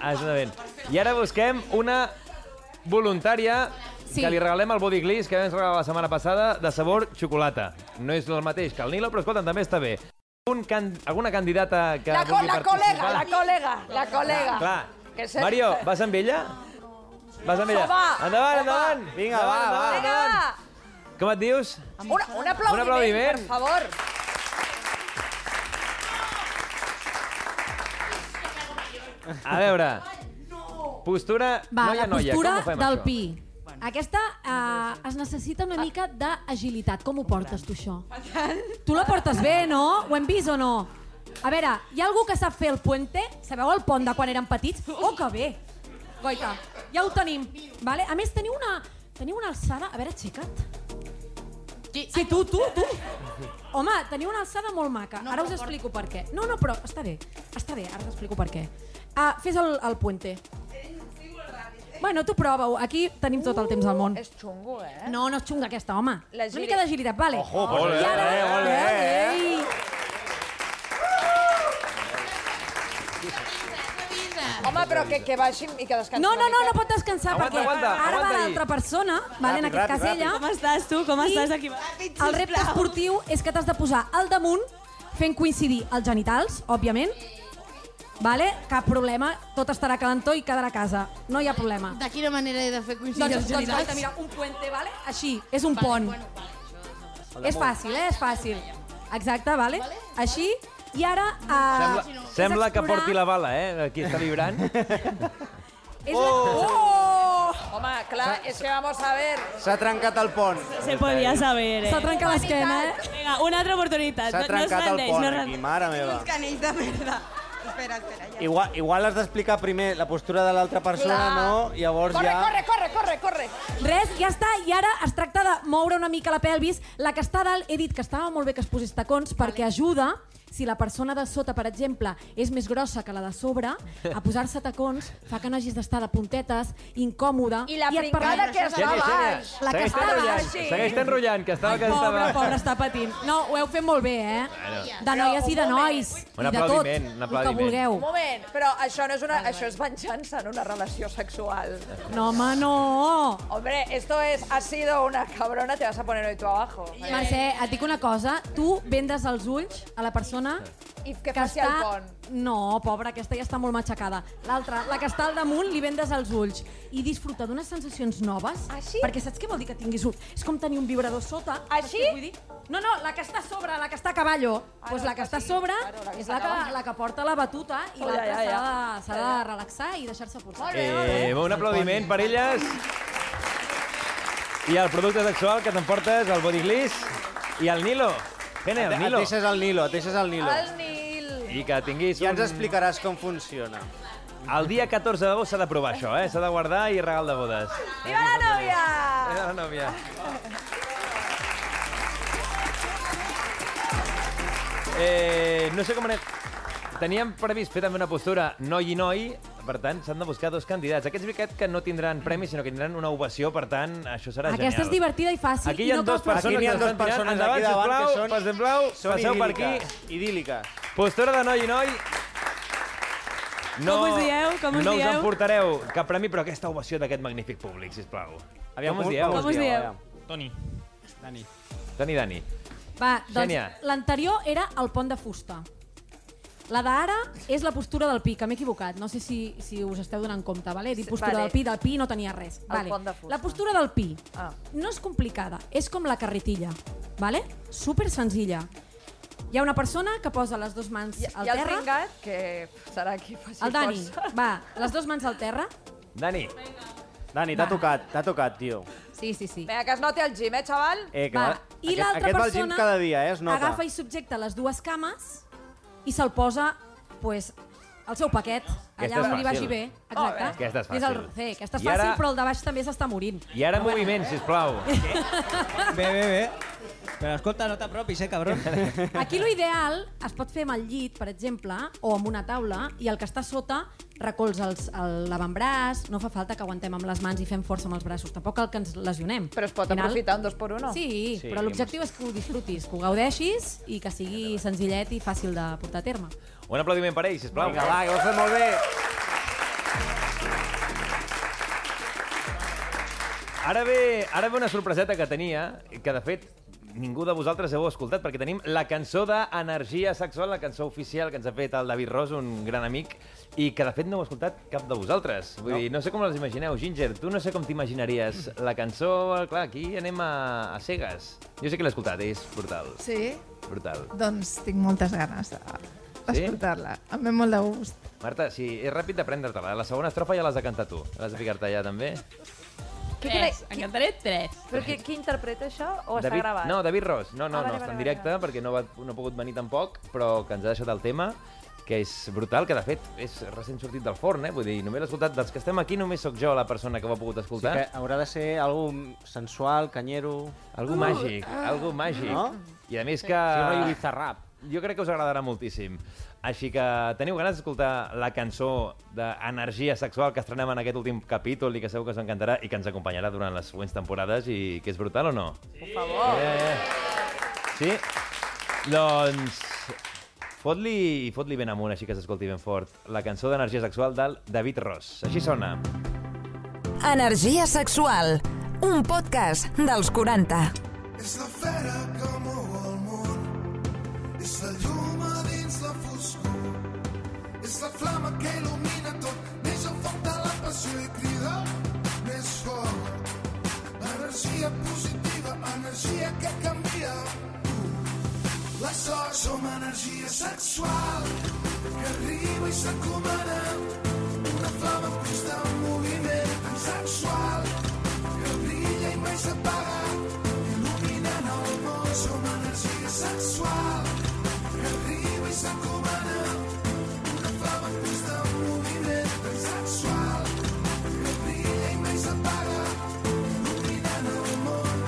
Speaker 3: Ah, està bé. I ara busquem una voluntària
Speaker 5: Sí.
Speaker 3: que li regalem el body gliss que vam regalar la setmana passada de sabor xocolata. No és el mateix que el Nilo, però escolta'm, també està bé. Un can... Alguna candidata que
Speaker 4: La, co
Speaker 3: vulgui
Speaker 4: la
Speaker 3: participar?
Speaker 4: col·lega, la col·lega, la col·lega.
Speaker 3: Clar.
Speaker 4: Que se-
Speaker 3: Mario, vas amb ella? Vas amb ella?
Speaker 4: Home,
Speaker 3: endavant, endavant!
Speaker 6: Vinga,
Speaker 3: Endavant,
Speaker 6: va,
Speaker 3: endavant,
Speaker 6: va,
Speaker 4: Vinga,
Speaker 3: endavant. Com et dius?
Speaker 4: Un, un aplaudiment,
Speaker 3: aplaudiment.
Speaker 4: per favor.
Speaker 3: A veure. Postura
Speaker 5: Va,
Speaker 3: noia,
Speaker 5: la
Speaker 3: noia.
Speaker 5: postura
Speaker 3: Com ho fem,
Speaker 5: del
Speaker 3: això?
Speaker 5: pi. Aquesta eh, es necessita
Speaker 8: Ah.
Speaker 5: una mica d'agilitat. Com ho portes, tu, això? Tu la portes bé, no? Ho hem vist o no? A veure, hi ha algú que sap fer el puente? Sabeu el pont de quan érem petits? Oh, que bé! Goita, ja ho tenim. Vale? A més, teniu una, teniu una alçada... A veure, aixeca't. Sí, tu, tu, tu. Home, teniu una alçada molt maca. No, ara us explico per què. No, no, però està bé. Està bé, ara t'explico per què. Ah, fes el, el puente. Bueno, tu prova-ho. Aquí tenim tot el temps del món.
Speaker 4: És xungo, eh?
Speaker 5: No, no és xunga aquesta, home.
Speaker 4: La
Speaker 5: Una
Speaker 4: giri-
Speaker 5: mica d'agilitat, vale. Ojo,
Speaker 4: molt bé, eh, molt bé, Home, però que, que baixin i que descansin
Speaker 5: No, no,
Speaker 4: una
Speaker 5: no,
Speaker 4: mica.
Speaker 5: no pot descansar
Speaker 4: Aguanta,
Speaker 5: perquè
Speaker 4: aguanta,
Speaker 5: ara
Speaker 4: aguanta
Speaker 5: va
Speaker 4: ahí.
Speaker 5: l'altra persona, vale, en
Speaker 4: Ràpid,
Speaker 5: aquest cas
Speaker 4: ràpid,
Speaker 5: ella.
Speaker 4: ràpid.
Speaker 8: Com estàs tu? Com
Speaker 5: i
Speaker 8: estàs aquí?
Speaker 5: El repte esportiu és que t'has de posar al damunt fent coincidir els genitals, òbviament. Vale? Cap problema, tot estarà calentó i quedarà a casa. No hi ha problema.
Speaker 13: De quina manera he de fer coincidir
Speaker 5: Doncs-
Speaker 13: els
Speaker 5: doncs,
Speaker 13: genitals?
Speaker 5: escolta, mira, un puente, vale? Així, és un pont. És fàcil, eh? És fàcil. Exacte, vale? Així. I ara... Eh,
Speaker 4: Ah,
Speaker 3: Sembla,
Speaker 5: és
Speaker 3: sembla que
Speaker 5: explorar-
Speaker 3: porti la bala, eh? Aquí està vibrant.
Speaker 5: És oh!
Speaker 4: Home, clar, és que vamos a ver.
Speaker 6: S'ha trencat el pont.
Speaker 8: Se podia saber, eh?
Speaker 5: S'ha trencat l'esquena, eh?
Speaker 8: Vinga, una altra oportunitat.
Speaker 6: S'ha
Speaker 8: No-
Speaker 6: trencat
Speaker 8: no es
Speaker 6: el
Speaker 8: rendeix,
Speaker 6: pont
Speaker 8: no es
Speaker 6: aquí, mare meva.
Speaker 13: Canells de merda. Espera, espera, ja.
Speaker 6: Igual, igual has d'explicar primer la postura de l'altra persona,
Speaker 5: Clar.
Speaker 6: no? Llavors
Speaker 5: Corre,
Speaker 6: ja...
Speaker 5: corre, corre, corre, corre. Res, ja està. I ara es tracta de moure una mica la pelvis. La que està a dalt, he dit que estava molt bé que es posés tacons perquè ajuda si la persona de sota, per exemple, és més grossa que la de sobre, a posar-se tacons fa que no hagis d'estar de puntetes, incòmoda...
Speaker 4: I la
Speaker 5: et
Speaker 4: pringada
Speaker 5: permet-
Speaker 4: que està Xènia, Xènia, baix.
Speaker 5: La que
Speaker 3: segueix
Speaker 5: està
Speaker 3: enrotllant,
Speaker 5: baix.
Speaker 3: segueix enrotllant, que estava...
Speaker 5: Ai,
Speaker 3: que
Speaker 5: pobre,
Speaker 3: estava...
Speaker 5: pobre, està patint. No, ho heu fet molt bé, eh? De noies i de nois.
Speaker 3: Un
Speaker 5: I de tot.
Speaker 3: aplaudiment, un
Speaker 5: El que
Speaker 3: aplaudiment.
Speaker 5: vulgueu.
Speaker 4: Un moment, però això no és una... Això és venjança en una relació sexual.
Speaker 5: No, home, no.
Speaker 4: Hombre, és Esto es, has sido una cabrona, te vas a poner hoy tú abajo.
Speaker 5: Mercè, et dic una cosa, tu vendes els ulls a la persona
Speaker 4: I que faci el pont.
Speaker 5: No, pobra, aquesta ja està molt matxacada. L'altra, la que està al damunt, li vendes els ulls. I disfruta d'unes sensacions noves.
Speaker 4: Ah,
Speaker 5: Així? Perquè saps què vol dir que tinguis un... És com tenir un vibrador sota. Així? Vull dir? No, no, la que està a sobre, la que està a cavallo. Doncs
Speaker 4: Ah,
Speaker 5: pues la que està a sobre és la que, la que porta la batuta i
Speaker 4: Oh, ja,
Speaker 5: l'altra
Speaker 4: ja,
Speaker 5: s'ha
Speaker 4: ja.
Speaker 5: de- s'ha de relaxar i deixar-se portar.
Speaker 3: Eh, un aplaudiment per elles. I el producte sexual que t'emportes, el Bodiglis i el Nilo. Gene, el
Speaker 6: Eh, Et- et
Speaker 3: Nilo.
Speaker 6: deixes el Nilo, et deixes el Nilo.
Speaker 4: El Nil.
Speaker 3: I que tinguis
Speaker 6: Ja ens
Speaker 3: un-
Speaker 6: explicaràs com funciona.
Speaker 3: El dia 14 d'agost s'ha de provar això, eh? S'ha de guardar i regal de bodes.
Speaker 4: ¡Viva la novia!
Speaker 3: Era la nòvia. Eh, no sé com anem. Teníem previst fer també una postura noi i noi, per tant, s'han de buscar dos candidats. Aquests vericat que no tindran premis, sinó que tindran una ovació, per tant, això serà genial.
Speaker 5: Aquesta és divertida i fàcil.
Speaker 3: Aquí
Speaker 5: i
Speaker 3: hi ha
Speaker 5: no cal
Speaker 3: dos persones,
Speaker 6: Aquí n'hi ha
Speaker 3: que
Speaker 6: dos
Speaker 3: estan
Speaker 6: persones
Speaker 3: tirant.
Speaker 6: aquí
Speaker 3: Endavant,
Speaker 6: davant que
Speaker 3: sisplau,
Speaker 6: són-
Speaker 3: passem blau,
Speaker 6: són
Speaker 3: passeu per aquí.
Speaker 6: idíl·liques, Idíl·liques.
Speaker 3: Postura de noi i noi. No,
Speaker 6: Com us dieu? Com us
Speaker 3: no us
Speaker 6: dieu?
Speaker 3: emportareu cap premi, però aquesta ovació d'aquest magnífic públic, sisplau.
Speaker 6: Aviam,
Speaker 3: com us
Speaker 6: com-
Speaker 3: dieu?
Speaker 6: com us dieu? Aviam.
Speaker 3: Toni.
Speaker 15: Dani.
Speaker 3: Dani, Dani.
Speaker 5: Va,
Speaker 3: Xènia.
Speaker 5: doncs l'anterior era el pont de fusta. La d'ara és la postura del pi, que m'he equivocat. No sé si, si us esteu donant compte, vale? He dit
Speaker 4: Sí,
Speaker 5: postura
Speaker 4: vale.
Speaker 5: del pi, del pi no tenia res.
Speaker 4: El
Speaker 5: Vale.
Speaker 4: pont de fusta.
Speaker 5: La postura del pi
Speaker 4: Ah.
Speaker 5: no és complicada, és com la carretilla, vale? super senzilla. Hi ha una persona que posa les dues mans
Speaker 4: I,
Speaker 5: al
Speaker 4: i el
Speaker 5: terra.
Speaker 4: Ringat, que serà qui faci
Speaker 5: El Dani,
Speaker 4: força.
Speaker 5: va, les dues mans al terra.
Speaker 3: Dani.
Speaker 6: Dani, t'ha tocat, t'ha tocat, tio.
Speaker 5: Sí, sí, sí.
Speaker 4: Vinga, que es noti el gym, eh, xaval?
Speaker 6: Eh, que
Speaker 5: Va,
Speaker 6: va-
Speaker 5: I
Speaker 6: aquest-
Speaker 5: l'altra
Speaker 6: aquest va al gym
Speaker 5: persona
Speaker 6: cada dia, eh, es nota.
Speaker 5: agafa i subjecta les dues cames i se'l posa pues, el seu paquet, allà
Speaker 3: és
Speaker 5: on li
Speaker 3: fàcil.
Speaker 5: vagi bé.
Speaker 4: Oh, eh.
Speaker 5: Exacte.
Speaker 3: bé. Aquesta és
Speaker 5: I el
Speaker 3: fàcil.
Speaker 5: rocer. Aquesta és
Speaker 3: I ara-
Speaker 5: fàcil, però el de baix també s'està morint.
Speaker 3: I ara moviment, sisplau.
Speaker 15: Bé, bé, bé. Però escolta, no t'apropis, eh, cabron.
Speaker 5: Aquí lo ideal es pot fer amb el llit, per exemple, o amb una taula, i el que està sota recolza els- el- l'avantbraç, no fa falta que aguantem amb les mans i fem força amb els braços, tampoc cal que ens lesionem. Però es
Speaker 4: pot aprofitar un dos per uno.
Speaker 5: Sí,
Speaker 4: Sí,
Speaker 5: sí però l'objectiu és que ho disfrutis, que ho gaudeixis i que sigui senzillet i fàcil de portar a terme.
Speaker 3: Un aplaudiment per ells, sisplau.
Speaker 6: Vinga, va, que ho has fet molt bé.
Speaker 3: Ara ve, ara ve una sorpreseta que tenia, que de fet ningú de vosaltres heu escoltat, perquè tenim la cançó d'Energia Sexual, la cançó oficial que ens ha fet el David Ros, un gran amic, i que de fet no heu escoltat cap de vosaltres. Vull
Speaker 6: No.
Speaker 3: no. dir, no sé com les imagineu. Ginger, tu no sé com t'imaginaries la cançó... Clar, aquí anem a, a cegues. Jo sé que l'he escoltat, és brutal.
Speaker 12: Sí?
Speaker 3: Brutal.
Speaker 12: Doncs tinc moltes ganes d'escoltar-la. Sí? Em ve molt de gust.
Speaker 3: Marta, si és ràpid d'aprendre-te-la. La segona estrofa ja l'has de cantar tu. L'has de ficar-te allà, també.
Speaker 4: Tres.
Speaker 9: Encantaré tres.
Speaker 4: Però qui, qui interpreta això o Oh, està
Speaker 3: David,
Speaker 4: gravat?
Speaker 3: No, David Ros. No, no,
Speaker 4: Ah, vale,
Speaker 3: no,
Speaker 4: vale,
Speaker 3: està en
Speaker 4: vale,
Speaker 3: directe perquè no, va, no ha pogut venir tampoc, però que ens ha deixat el tema, que és brutal, que de fet és recent sortit del forn, eh? Vull dir, només l'he escoltat, dels que estem aquí només sóc jo la persona que ho ha pogut
Speaker 6: Sí que
Speaker 3: escoltar.
Speaker 6: haurà de ser algú sensual, canyero...
Speaker 3: Algú màgic, algú màgic.
Speaker 6: Ah. No?
Speaker 3: I a més que...
Speaker 6: Sí, rotllo
Speaker 3: bizarrap. Jo crec que us agradarà moltíssim. Així que teniu ganes d'escoltar la cançó d'Energia Sexual que estrenem en aquest últim capítol i que segur que us encantarà i que ens acompanyarà durant les següents temporades i que és brutal o no? Eh,
Speaker 4: Per favor.
Speaker 3: Sí? Doncs... Fot-li fot ben amunt, així que s'escolti ben fort, la cançó d'energia sexual del David Ross. Així sona.
Speaker 2: Energia sexual. Un podcast dels 40.
Speaker 16: És la fera que mou el món. És la llum a dins la foscor. És la flama que il·lumina tot. Neix el foc de la passió i crida més fort. Energia positiva, energia que canvia. La sort som energia sexual que arriba i s'encomana. Una flama en constant moviment, tan sexual que brilla i mai s'apaga. Il·luminant el món som energia sexual que arriba i s'encomana. Una flama en constant moviment, tan sexual que brilla i mai s'apaga. Il·luminant el món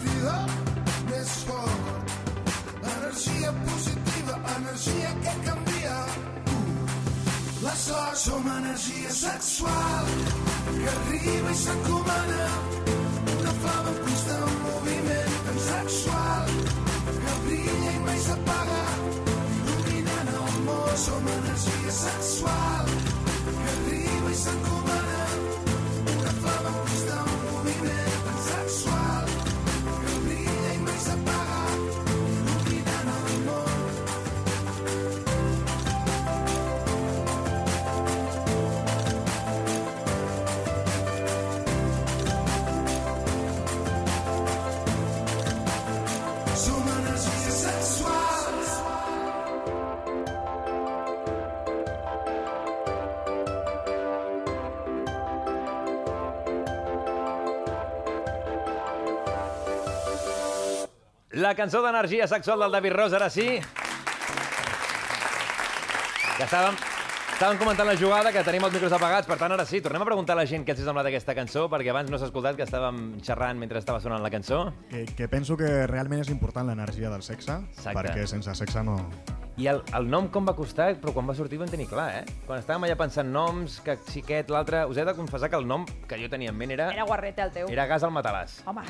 Speaker 16: crida més fort. Energia positiva, energia que canvia. La sort som energia sexual que arriba i s'encomana. Una flama en constant moviment tan sexual que brilla i mai s'apaga. Dominant el món som energia sexual que arriba i s'encomana. Una flama en constant moviment tan sexual que brilla i mai s'apaga. Dominant el món Som energia sexual.
Speaker 3: La cançó d'energia sexual del David Ros, ara sí. Ja estàvem, estàvem comentant la jugada, que tenim els micros apagats, per tant, ara sí, tornem a preguntar a la gent què els ha semblat aquesta cançó, perquè abans no s'ha escoltat, que estàvem xerrant mentre estava sonant la cançó.
Speaker 17: Que, Eh, que penso que realment és important l'energia del sexe,
Speaker 3: Exacte.
Speaker 17: perquè sense sexe no...
Speaker 3: I el, el nom com va costar, però quan va sortir ho vam tenir clar, eh? Quan estàvem allà pensant noms, que si aquest, l'altre... Us he de confessar que el nom que jo tenia en ment era...
Speaker 4: Era guarrete el teu.
Speaker 3: Eh, Era Gas al Matalàs.
Speaker 4: Home.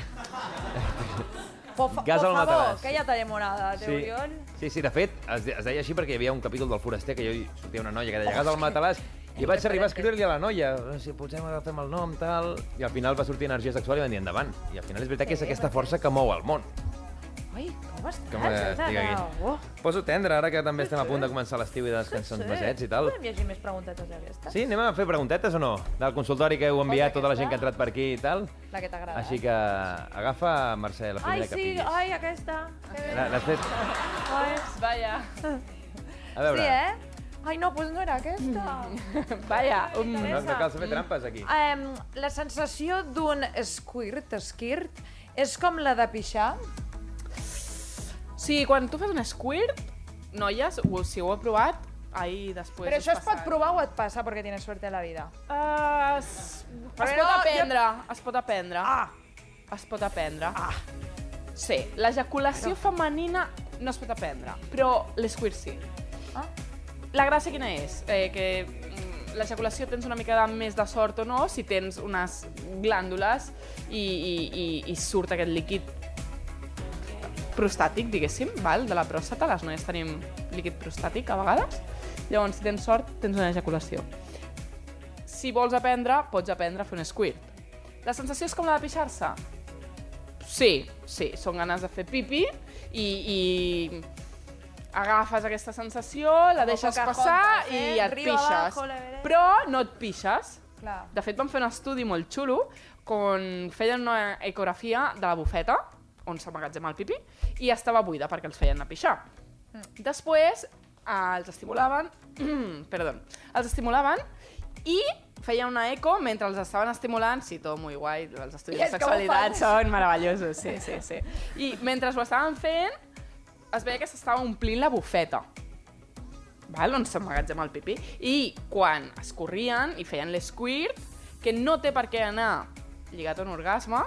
Speaker 4: Por, fa,
Speaker 3: Gas
Speaker 4: por
Speaker 3: al
Speaker 4: favor,
Speaker 3: matalàs.
Speaker 4: que ja tallem una de teu, Oriol.
Speaker 3: sí, sí, de fet, es, de- es deia així perquè hi havia un capítol del Foraster que jo hi sortia una noia que deia Gas al Matalàs i vaig arribar a escriure-li a la noia, no sé, potser agafem el nom, tal... I al final va sortir energia sexual i van dir endavant. I al final és veritat que és
Speaker 4: Sí,
Speaker 3: aquesta força que mou el món.
Speaker 4: Ai, com estàs?
Speaker 3: Com, eh,
Speaker 4: Has
Speaker 3: digue
Speaker 4: d'anar-
Speaker 3: aquí.
Speaker 4: Oh.
Speaker 3: Poso tendre, ara que també estem a punt de començar l'estiu i de les cançons
Speaker 4: Sí.
Speaker 3: besets i tal.
Speaker 4: Podem llegir més preguntetes d'aquestes?
Speaker 3: Sí, anem a fer preguntetes o no? Del consultori que heu enviat tota la gent que ha entrat per aquí i tal.
Speaker 4: La que t'agrada.
Speaker 3: Així que agafa, Mercè, la
Speaker 4: Ai,
Speaker 3: primera que
Speaker 4: sí,
Speaker 3: pillis.
Speaker 4: ai, aquesta. Que bé.
Speaker 3: La- L'has fet...
Speaker 4: Ai, vaya.
Speaker 3: A veure,
Speaker 4: Sí, eh? Ai, no, doncs no era aquesta. Vaya. Um,
Speaker 3: no, no cal fer trampes aquí.
Speaker 4: Em, la sensació d'un squirt, squirt, és com la de pixar.
Speaker 9: Sí, quan tu fas un squirt, noies, ho, si ho heu provat, ahir després...
Speaker 4: Però això es pot provar o et passa perquè tienes suerte a la vida?
Speaker 9: Uh, es, es
Speaker 4: Però
Speaker 9: pot
Speaker 4: no,
Speaker 9: aprendre, es pot aprendre. Ah! Es pot aprendre. Ah! Sí, l'ejaculació femenina no es pot aprendre, però l'esquirt sí.
Speaker 4: Ah.
Speaker 9: La gràcia quina és? Eh, que mm, l'ejaculació tens una mica de més de sort o no, si tens unes glàndules i, i, i, i surt aquest líquid prostàtic, diguéssim, val? de la pròstata, les noies tenim líquid prostàtic a vegades, llavors si tens sort tens una ejaculació. Si vols aprendre, pots aprendre a fer un squirt. La sensació és com la de pixar-se? Sí, sí, són ganes de fer pipi i, i agafes aquesta sensació, la
Speaker 4: Com
Speaker 9: deixes
Speaker 4: Pocahontas,
Speaker 9: passar
Speaker 4: eh?
Speaker 9: i et
Speaker 4: Río
Speaker 9: pixes.
Speaker 4: abajo, la veré.
Speaker 9: Però no et pixes.
Speaker 4: Clar.
Speaker 9: De fet, van fer un estudi molt xulo on feien una ecografia de la bufeta, on s'emmagatzema el pipí, i estava buida perquè els feien anar a pixar. Mm. Després eh, els estimulaven, perdó, els estimulaven i feien una eco mentre els estaven estimulant, sí, tot molt guai, els estudis
Speaker 13: I
Speaker 9: de
Speaker 13: és com ho
Speaker 9: sexualitat
Speaker 13: fan.
Speaker 9: són meravellosos, sí, sí, sí. I mentre ho estaven fent, es veia que s'estava omplint la bufeta val? on s'emmagatzema el pipí, i quan es corrien i feien l'esquirt, que no té per què anar lligat a un orgasme,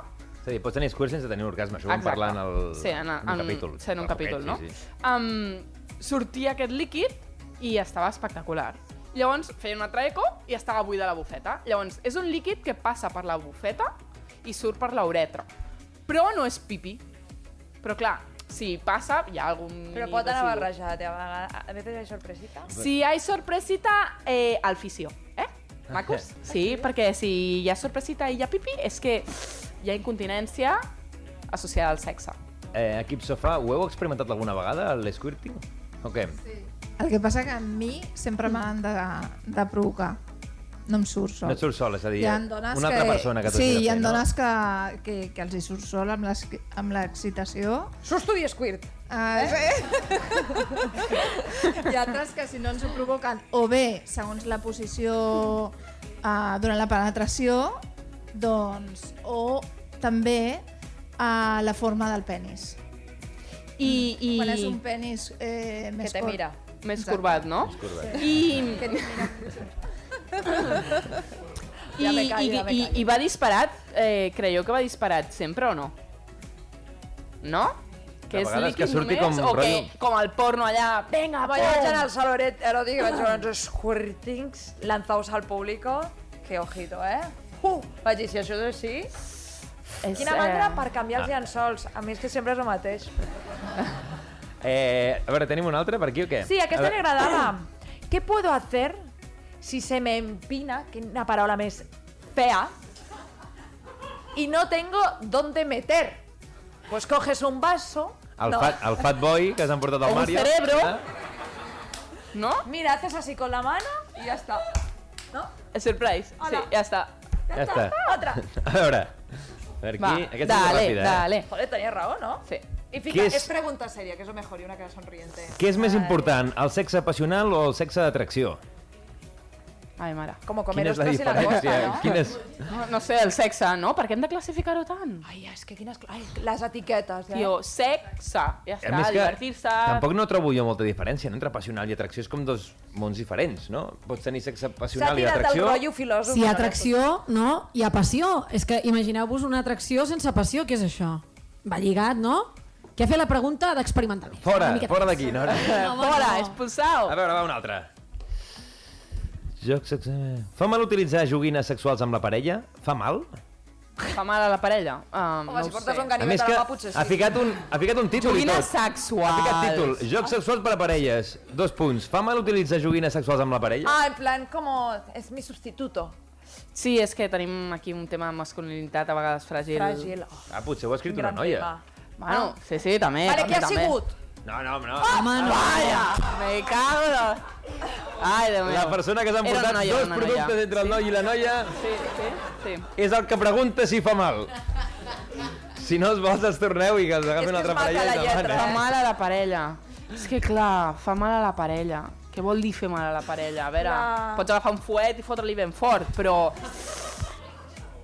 Speaker 3: És a dir, pots tenir squirt sense tenir un orgasme, això ho vam
Speaker 9: Exacte.
Speaker 3: parlar en, el,
Speaker 9: Sí, en- en-
Speaker 3: un capítol.
Speaker 9: sí, en un
Speaker 3: Fa poquet,
Speaker 9: capítol, no?
Speaker 3: Sí, sí.
Speaker 9: um, sortia aquest líquid i estava espectacular. Llavors feien un altre eco i estava buida la bufeta. Llavors, és un líquid que passa per la bufeta i surt per la uretra. Però no és pipí. Però clar, si passa, hi ha algun...
Speaker 4: Però pot anar
Speaker 9: residu.
Speaker 4: barrejat, eh? A vegades- A veces hay sorpresita.
Speaker 9: Si hay sorpresita, eh, al fisio. Eh? Macos? Sí, perquè si hi ha sorpresita i hi ha pipí, és que hi ha incontinència associada al sexe.
Speaker 3: Eh, equip sofà, ho heu experimentat alguna vegada, l'esquirting? O què?
Speaker 12: El que passa que a mi sempre m'han de, de provocar. No em surt sol.
Speaker 3: No et surt sol, és a dir,
Speaker 12: Hi ha dones
Speaker 3: una altra persona que t'ho
Speaker 12: Sí,
Speaker 3: hagi de
Speaker 12: hi ha
Speaker 3: fer, no?
Speaker 12: dones que, que, que els hi surt sol amb les- amb l'excitació.
Speaker 4: Susto i squirt.
Speaker 12: Eh? hi ha altres que si no ens ho provoquen o bé, segons la posició eh, durant la penetració, doncs, o també eh, la forma del penis. Mm.
Speaker 9: I, i...
Speaker 12: Quan és un penis eh, més
Speaker 9: te
Speaker 12: curt.
Speaker 9: mira. Més
Speaker 12: Exacte.
Speaker 9: corbat, no? Més
Speaker 12: corbat.
Speaker 9: I-
Speaker 12: Que te mira
Speaker 9: I,
Speaker 12: Ja me callo,
Speaker 9: i,
Speaker 12: ja me
Speaker 9: i,
Speaker 12: callo.
Speaker 9: i va disparat, eh, creieu que va disparat sempre o no? no?
Speaker 3: De
Speaker 9: Que és
Speaker 3: vegades
Speaker 9: líquid
Speaker 3: que surti
Speaker 9: només,
Speaker 3: com
Speaker 9: o
Speaker 3: rotllo-
Speaker 9: que com el porno allà... Vinga,
Speaker 4: Bueno, jo vaig
Speaker 9: pum!
Speaker 4: anar al saloret eròtic i vaig veure uns squirtings lanzados al público. Que ojito, eh? Uh! Vaig dir, si això és així...
Speaker 9: És,
Speaker 4: Quina mandra
Speaker 9: eh,
Speaker 4: per canviar els
Speaker 3: ah.
Speaker 4: llençols. A mi és que sempre és el mateix.
Speaker 3: Eh, a veure, tenim una altra per aquí o què?
Speaker 4: Sí,
Speaker 3: A
Speaker 4: aquesta
Speaker 3: veure-
Speaker 4: m'agradava. Què puedo hacer si se me empina, quina paraula més fea, y no tengo dónde meter? Pues coges un vaso...
Speaker 3: El,
Speaker 4: no.
Speaker 3: fat, el fat boy que s'han portat al
Speaker 4: Un
Speaker 3: Mario. Ah?
Speaker 4: cerebro.
Speaker 9: ¿No?
Speaker 4: Mira, haces así con la mano y ya está. ¿No?
Speaker 9: Surprise.
Speaker 4: Hola.
Speaker 9: Sí, ja està.
Speaker 3: Ja està.
Speaker 4: Otra.
Speaker 3: A veure. A veure, aquí,
Speaker 9: Va,
Speaker 3: aquesta és
Speaker 9: dale,
Speaker 3: molt ràpida. eh?
Speaker 9: dale.
Speaker 4: Eh, Joder, tenías rabo, ¿no?
Speaker 9: Sí.
Speaker 4: Y
Speaker 3: ¿Qué
Speaker 4: fíjate,
Speaker 3: es-
Speaker 4: es... pregunta seria, que es lo mejor, y una cara sonriente.
Speaker 3: Eh? Què és més important, el sexe passional o el sexe d'atracció?
Speaker 9: Ai, mare.
Speaker 4: Com
Speaker 3: Quina és la diferència? Quina és...
Speaker 9: No, no sé, el sexe, no? Per què hem de classificar-ho tant?
Speaker 4: Ai, és que quines... Ai, les etiquetes, eh?
Speaker 9: Tio, sexe. Ja
Speaker 3: A més
Speaker 9: està,
Speaker 3: que
Speaker 9: divertir-se...
Speaker 3: Tampoc no trobo jo molta diferència no? entre passional i atracció. És com dos mons diferents, no? Pots tenir sexe passional i atracció...
Speaker 5: Si hi ha atracció, no, hi ha passió. És que imagineu-vos una atracció sense passió, què és això? Va lligat, no? Què ha fet la pregunta d'experimentalment?
Speaker 3: Fora,
Speaker 5: Una miqueta
Speaker 3: fora d'aquí. No?
Speaker 5: No, home,
Speaker 9: Fora,
Speaker 5: no.
Speaker 9: expulsau!
Speaker 3: A veure, va, una altra. Joc sexe... Fa mal utilitzar joguines sexuals amb la parella? Fa mal?
Speaker 9: Fa mal a la parella. Um,
Speaker 4: Home,
Speaker 9: no
Speaker 4: si
Speaker 9: ho
Speaker 4: portes
Speaker 9: sé.
Speaker 4: un ganivet a la mà, potser sí.
Speaker 3: ha ficat, un, ha ficat un títol i
Speaker 9: Joguines
Speaker 3: tot. Ha ficat títol.
Speaker 9: sexuals.
Speaker 3: Jocs sexuals per a parelles. Dos punts. Fa mal utilitzar joguines sexuals amb la parella?
Speaker 4: Ah, en plan, como... Es mi sustituto.
Speaker 9: Sí, és que tenim aquí un tema de masculinitat a vegades fràgil.
Speaker 4: Fràgil. Oh,
Speaker 3: Ah, potser ho ha escrit
Speaker 4: quin
Speaker 3: una
Speaker 4: gran
Speaker 3: noia.
Speaker 4: tema.
Speaker 9: Bueno, Ah, sí, sí, també.
Speaker 4: Vale,
Speaker 9: també,
Speaker 4: qui ha
Speaker 9: també.
Speaker 4: sigut?
Speaker 3: No, no, no.
Speaker 9: Home, Ah, no. Vaya, me cago en... la- Ai, Déu meu.
Speaker 3: La persona que s'han
Speaker 9: Era
Speaker 3: portat
Speaker 9: una noia,
Speaker 3: dos
Speaker 9: una noia.
Speaker 3: productes entre el noi i la noia
Speaker 9: Sí, sí, sí.
Speaker 3: és el que pregunta si fa mal. Si no els vols, els torneu i que els agafin una altra parella i
Speaker 9: Fa
Speaker 3: demanen.
Speaker 9: mal a la parella. És que, clar, fa mal a la parella. Què vol dir fer mal a la parella? A veure,
Speaker 4: Clar.
Speaker 9: pots agafar un fuet i fotre-li ben fort, però...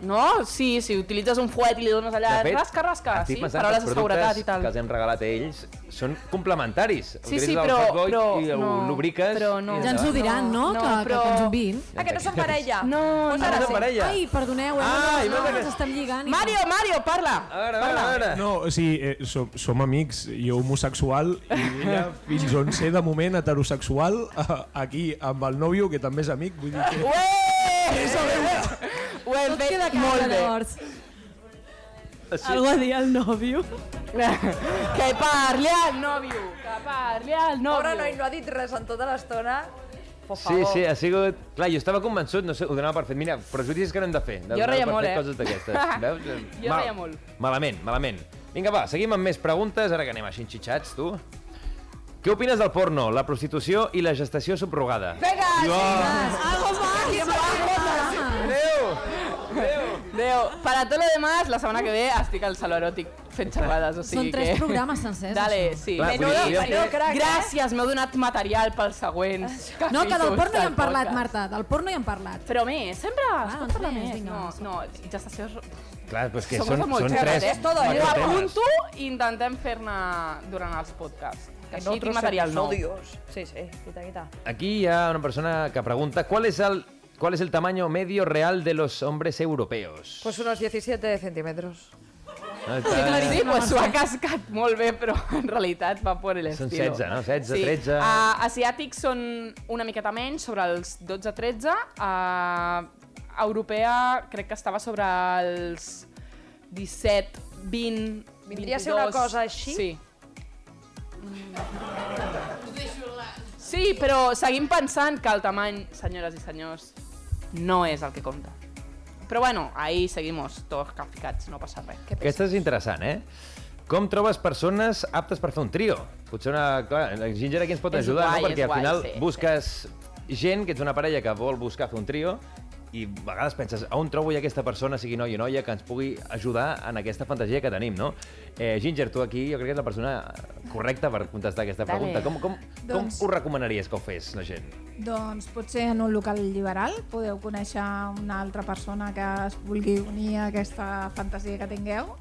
Speaker 9: No? Sí, si utilitzes un fuet i li dones allà...
Speaker 3: De fet,
Speaker 9: rasca, rasca, sí,
Speaker 3: estic pensant que
Speaker 9: paraules
Speaker 3: els
Speaker 9: de
Speaker 3: productes
Speaker 9: seguretat i tal.
Speaker 3: que els hem regalat a ells són complementaris.
Speaker 9: Sí,
Speaker 3: Utilitzes
Speaker 9: sí,
Speaker 3: el
Speaker 9: però-
Speaker 3: fuckboy
Speaker 9: però
Speaker 3: I ho
Speaker 9: no,
Speaker 3: lubriques...
Speaker 9: però no.
Speaker 3: i
Speaker 5: Ja ens ho
Speaker 3: endavant.
Speaker 5: diran, Ah, no?
Speaker 9: No,
Speaker 5: que,
Speaker 9: però-
Speaker 5: que conjumbin.
Speaker 4: Ah, que no són parella.
Speaker 9: No,
Speaker 4: pues
Speaker 9: no,
Speaker 4: ara
Speaker 3: no
Speaker 4: sí.
Speaker 3: són parella.
Speaker 5: Ai, perdoneu, eh? no,
Speaker 3: Ai, mira
Speaker 5: no,
Speaker 3: que-
Speaker 5: ens estem lligant. i-
Speaker 9: Mario, Mario, parla!
Speaker 3: A veure, a veure, a veure.
Speaker 14: No, o sigui, eh, som, som amics, jo homosexual i ella, fins on sé, de moment heterosexual, eh, aquí amb el nòvio, que també és amic, vull dir que...
Speaker 9: Ho hem
Speaker 5: Tot queda
Speaker 9: fet
Speaker 5: clar,
Speaker 9: molt bé.
Speaker 5: llavors.
Speaker 8: Algo a dir al nòvio.
Speaker 9: que parli al nòvio! Que parli al
Speaker 4: Pobre
Speaker 9: nòvio!
Speaker 4: noi, no ha dit res en tota l'estona. Por
Speaker 3: Sí,
Speaker 4: favor.
Speaker 3: sí, ha sigut... Clar, jo estava convençut, no sé, ho donava per fet. Mira, prejudicis que no hem de fer. De
Speaker 9: Jo
Speaker 3: donar
Speaker 9: reia
Speaker 3: per
Speaker 9: molt,
Speaker 3: fet
Speaker 9: eh?
Speaker 3: Coses d'aquestes. Veus?
Speaker 9: Jo reia molt.
Speaker 3: Malament, malament. Vinga, va, seguim amb més preguntes, ara que anem així xitxats, tu. Què opines del porno, la prostitució i la gestació subrogada?
Speaker 4: Vinga,
Speaker 3: Jo-
Speaker 4: chicas. Algo más.
Speaker 3: Adéu!
Speaker 9: Déu, per a tot lo demás, la setmana que ve estic al Saló Eròtic fent xerrades, o sigui
Speaker 5: Són tres
Speaker 9: que...
Speaker 5: programes sencers,
Speaker 9: Dale,
Speaker 5: això.
Speaker 9: sí.
Speaker 3: Clar, vull dir, jo-
Speaker 9: Menudo,
Speaker 4: crac, eh?
Speaker 9: gràcies, m'heu donat material pels següents
Speaker 5: No, que del porno hi hem parlat, Marta.
Speaker 9: Marta.
Speaker 5: Del porno hi hem parlat.
Speaker 9: Però més, sempre,
Speaker 12: Ah,
Speaker 9: es pot
Speaker 5: doncs
Speaker 9: parlar
Speaker 5: més,
Speaker 9: més.
Speaker 5: vinga,
Speaker 9: No,
Speaker 5: va, som-
Speaker 9: no, gestació...
Speaker 3: Clar, però és que
Speaker 9: Som
Speaker 3: són,
Speaker 9: molt
Speaker 3: són
Speaker 9: xerrades,
Speaker 3: tres...
Speaker 9: eh? Todo, eh? Ho
Speaker 3: macrotemes.
Speaker 9: apunto i intentem fer-ne durant els podcasts. Que així tinc material
Speaker 3: Oh,
Speaker 9: nou.
Speaker 4: Dios. Sí, sí, quita, quita.
Speaker 3: Aquí hi ha una persona que pregunta ¿Cuál es el, cuál es el tamaño medio real de los hombres europeos?
Speaker 4: Pues unos 17 centímetros.
Speaker 3: No,
Speaker 9: Sí,
Speaker 3: està-
Speaker 9: clar, sí, pues s'ho ha cascat molt bé, però en realitat va por el
Speaker 3: Són
Speaker 9: estilo.
Speaker 3: 16, no? 16,
Speaker 9: sí.
Speaker 3: 13.
Speaker 9: Uh, asiàtics són una miqueta menys, sobre els 12-13. Uh, europea crec que estava sobre els 17, 20,
Speaker 4: Vindria
Speaker 9: 22.
Speaker 4: a ser una cosa així?
Speaker 9: Sí. Sí, però seguim pensant que el tamany, senyores i senyors, no és el que compta. Però bueno, ahí seguimos, tots capficats, no passa res.
Speaker 3: Aquesta és interessant, eh? Com trobes persones aptes per fer un trio? Potser una... Clar, la Ginger aquí ens pot
Speaker 9: És
Speaker 3: ajudar,
Speaker 9: guai,
Speaker 3: no? Perquè
Speaker 9: és
Speaker 3: al
Speaker 9: guai,
Speaker 3: final
Speaker 9: sí,
Speaker 3: busques gent, que ets una parella que vol buscar fer un trio, i a vegades penses, on trobo ja aquesta persona, sigui noi o noia, que ens pugui ajudar en aquesta fantasia que tenim, no? Eh, Ginger, tu aquí jo crec que ets la persona correcta per contestar aquesta
Speaker 12: Dale.
Speaker 3: pregunta. Com, com,
Speaker 12: Doncs-
Speaker 3: com ho recomanaries que ho fes la gent?
Speaker 12: Doncs potser en un local liberal podeu conèixer una altra persona que es vulgui unir a aquesta fantasia que tingueu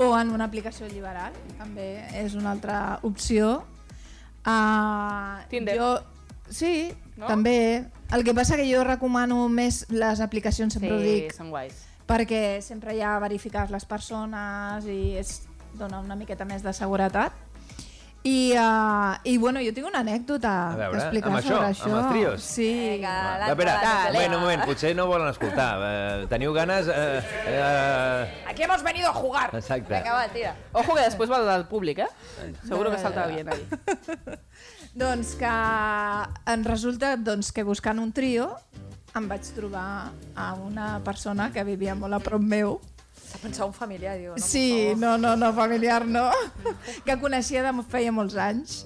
Speaker 12: o en una aplicació liberal, també és una altra opció. Uh,
Speaker 9: Tinder.
Speaker 12: Jo, sí,
Speaker 9: No?
Speaker 12: no? també. El que passa que jo recomano més les aplicacions, sempre ho dic,
Speaker 9: són guais.
Speaker 12: perquè sempre hi ha verificar les persones i és dona una miqueta més de seguretat. I, uh, i bueno, jo tinc una anècdota
Speaker 3: A veure,
Speaker 12: que explicar
Speaker 3: amb això, amb
Speaker 12: Ah, sobre això.
Speaker 3: els trios?
Speaker 12: Sí. Vinga,
Speaker 3: Va, espera, bueno, un moment, potser no volen escoltar. Eh, teniu ganes... Eh, eh,
Speaker 4: Aquí hemos venido a jugar.
Speaker 3: exacte.
Speaker 4: Venga, va, tira.
Speaker 9: Ojo que després va del públic, eh? Seguro que salta bien ahí.
Speaker 12: Doncs que en resulta doncs, que buscant un trio em vaig trobar a una persona que vivia molt a prop meu.
Speaker 4: S'ha pensat un familiar, diu. No?
Speaker 12: Sí, no, no, no, familiar no. Que coneixia de feia molts anys.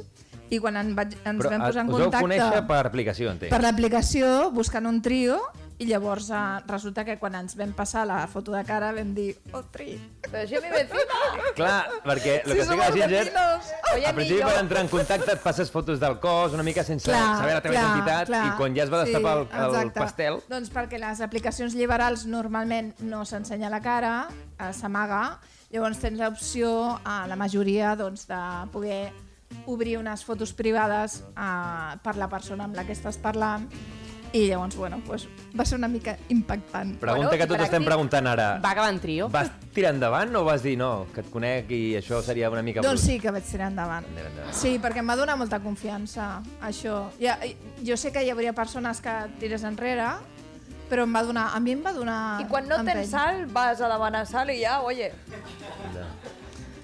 Speaker 12: I quan en vaig, ens vam
Speaker 3: eh,
Speaker 12: posar en
Speaker 3: us vau
Speaker 12: contacte...
Speaker 3: conèixer per aplicació, entenc.
Speaker 12: per l'aplicació, buscant un trio, i llavors eh, resulta que quan ens vam passar la foto de cara vam dir, oh, tri.
Speaker 4: Però jo mi vecino.
Speaker 3: Clar, perquè el
Speaker 12: Si
Speaker 3: que estic a
Speaker 12: somos
Speaker 3: Ginger...
Speaker 12: vecinos.
Speaker 3: Al principi per entrar en contacte et passes fotos del cos una mica sense
Speaker 12: Clar,
Speaker 3: saber la teva
Speaker 12: clar,
Speaker 3: identitat
Speaker 12: clar.
Speaker 3: i quan ja es va destapar el, el
Speaker 12: exacte.
Speaker 3: pastel...
Speaker 12: Doncs perquè les aplicacions liberals normalment no s'ensenya la cara, eh, s'amaga, llavors tens l'opció, a la majoria, doncs, de poder obrir unes fotos privades eh, per la persona amb la que estàs parlant i llavors, bueno, pues, va ser una mica impactant.
Speaker 3: Pregunta que tots estem preguntant ara.
Speaker 12: Va acabar en trio.
Speaker 3: Vas tirar endavant o vas dir no, que et conec i això seria una mica...
Speaker 12: Doncs
Speaker 3: brut"?
Speaker 12: sí que vaig tirar endavant.
Speaker 3: Tira endavant.
Speaker 12: Sí, perquè em va donar molta confiança, això. Ja, jo sé que hi hauria persones que tires enrere, però em va donar, a mi em va donar...
Speaker 4: I quan no
Speaker 12: empeny.
Speaker 4: tens sal, vas a demanar sal i ja, oye,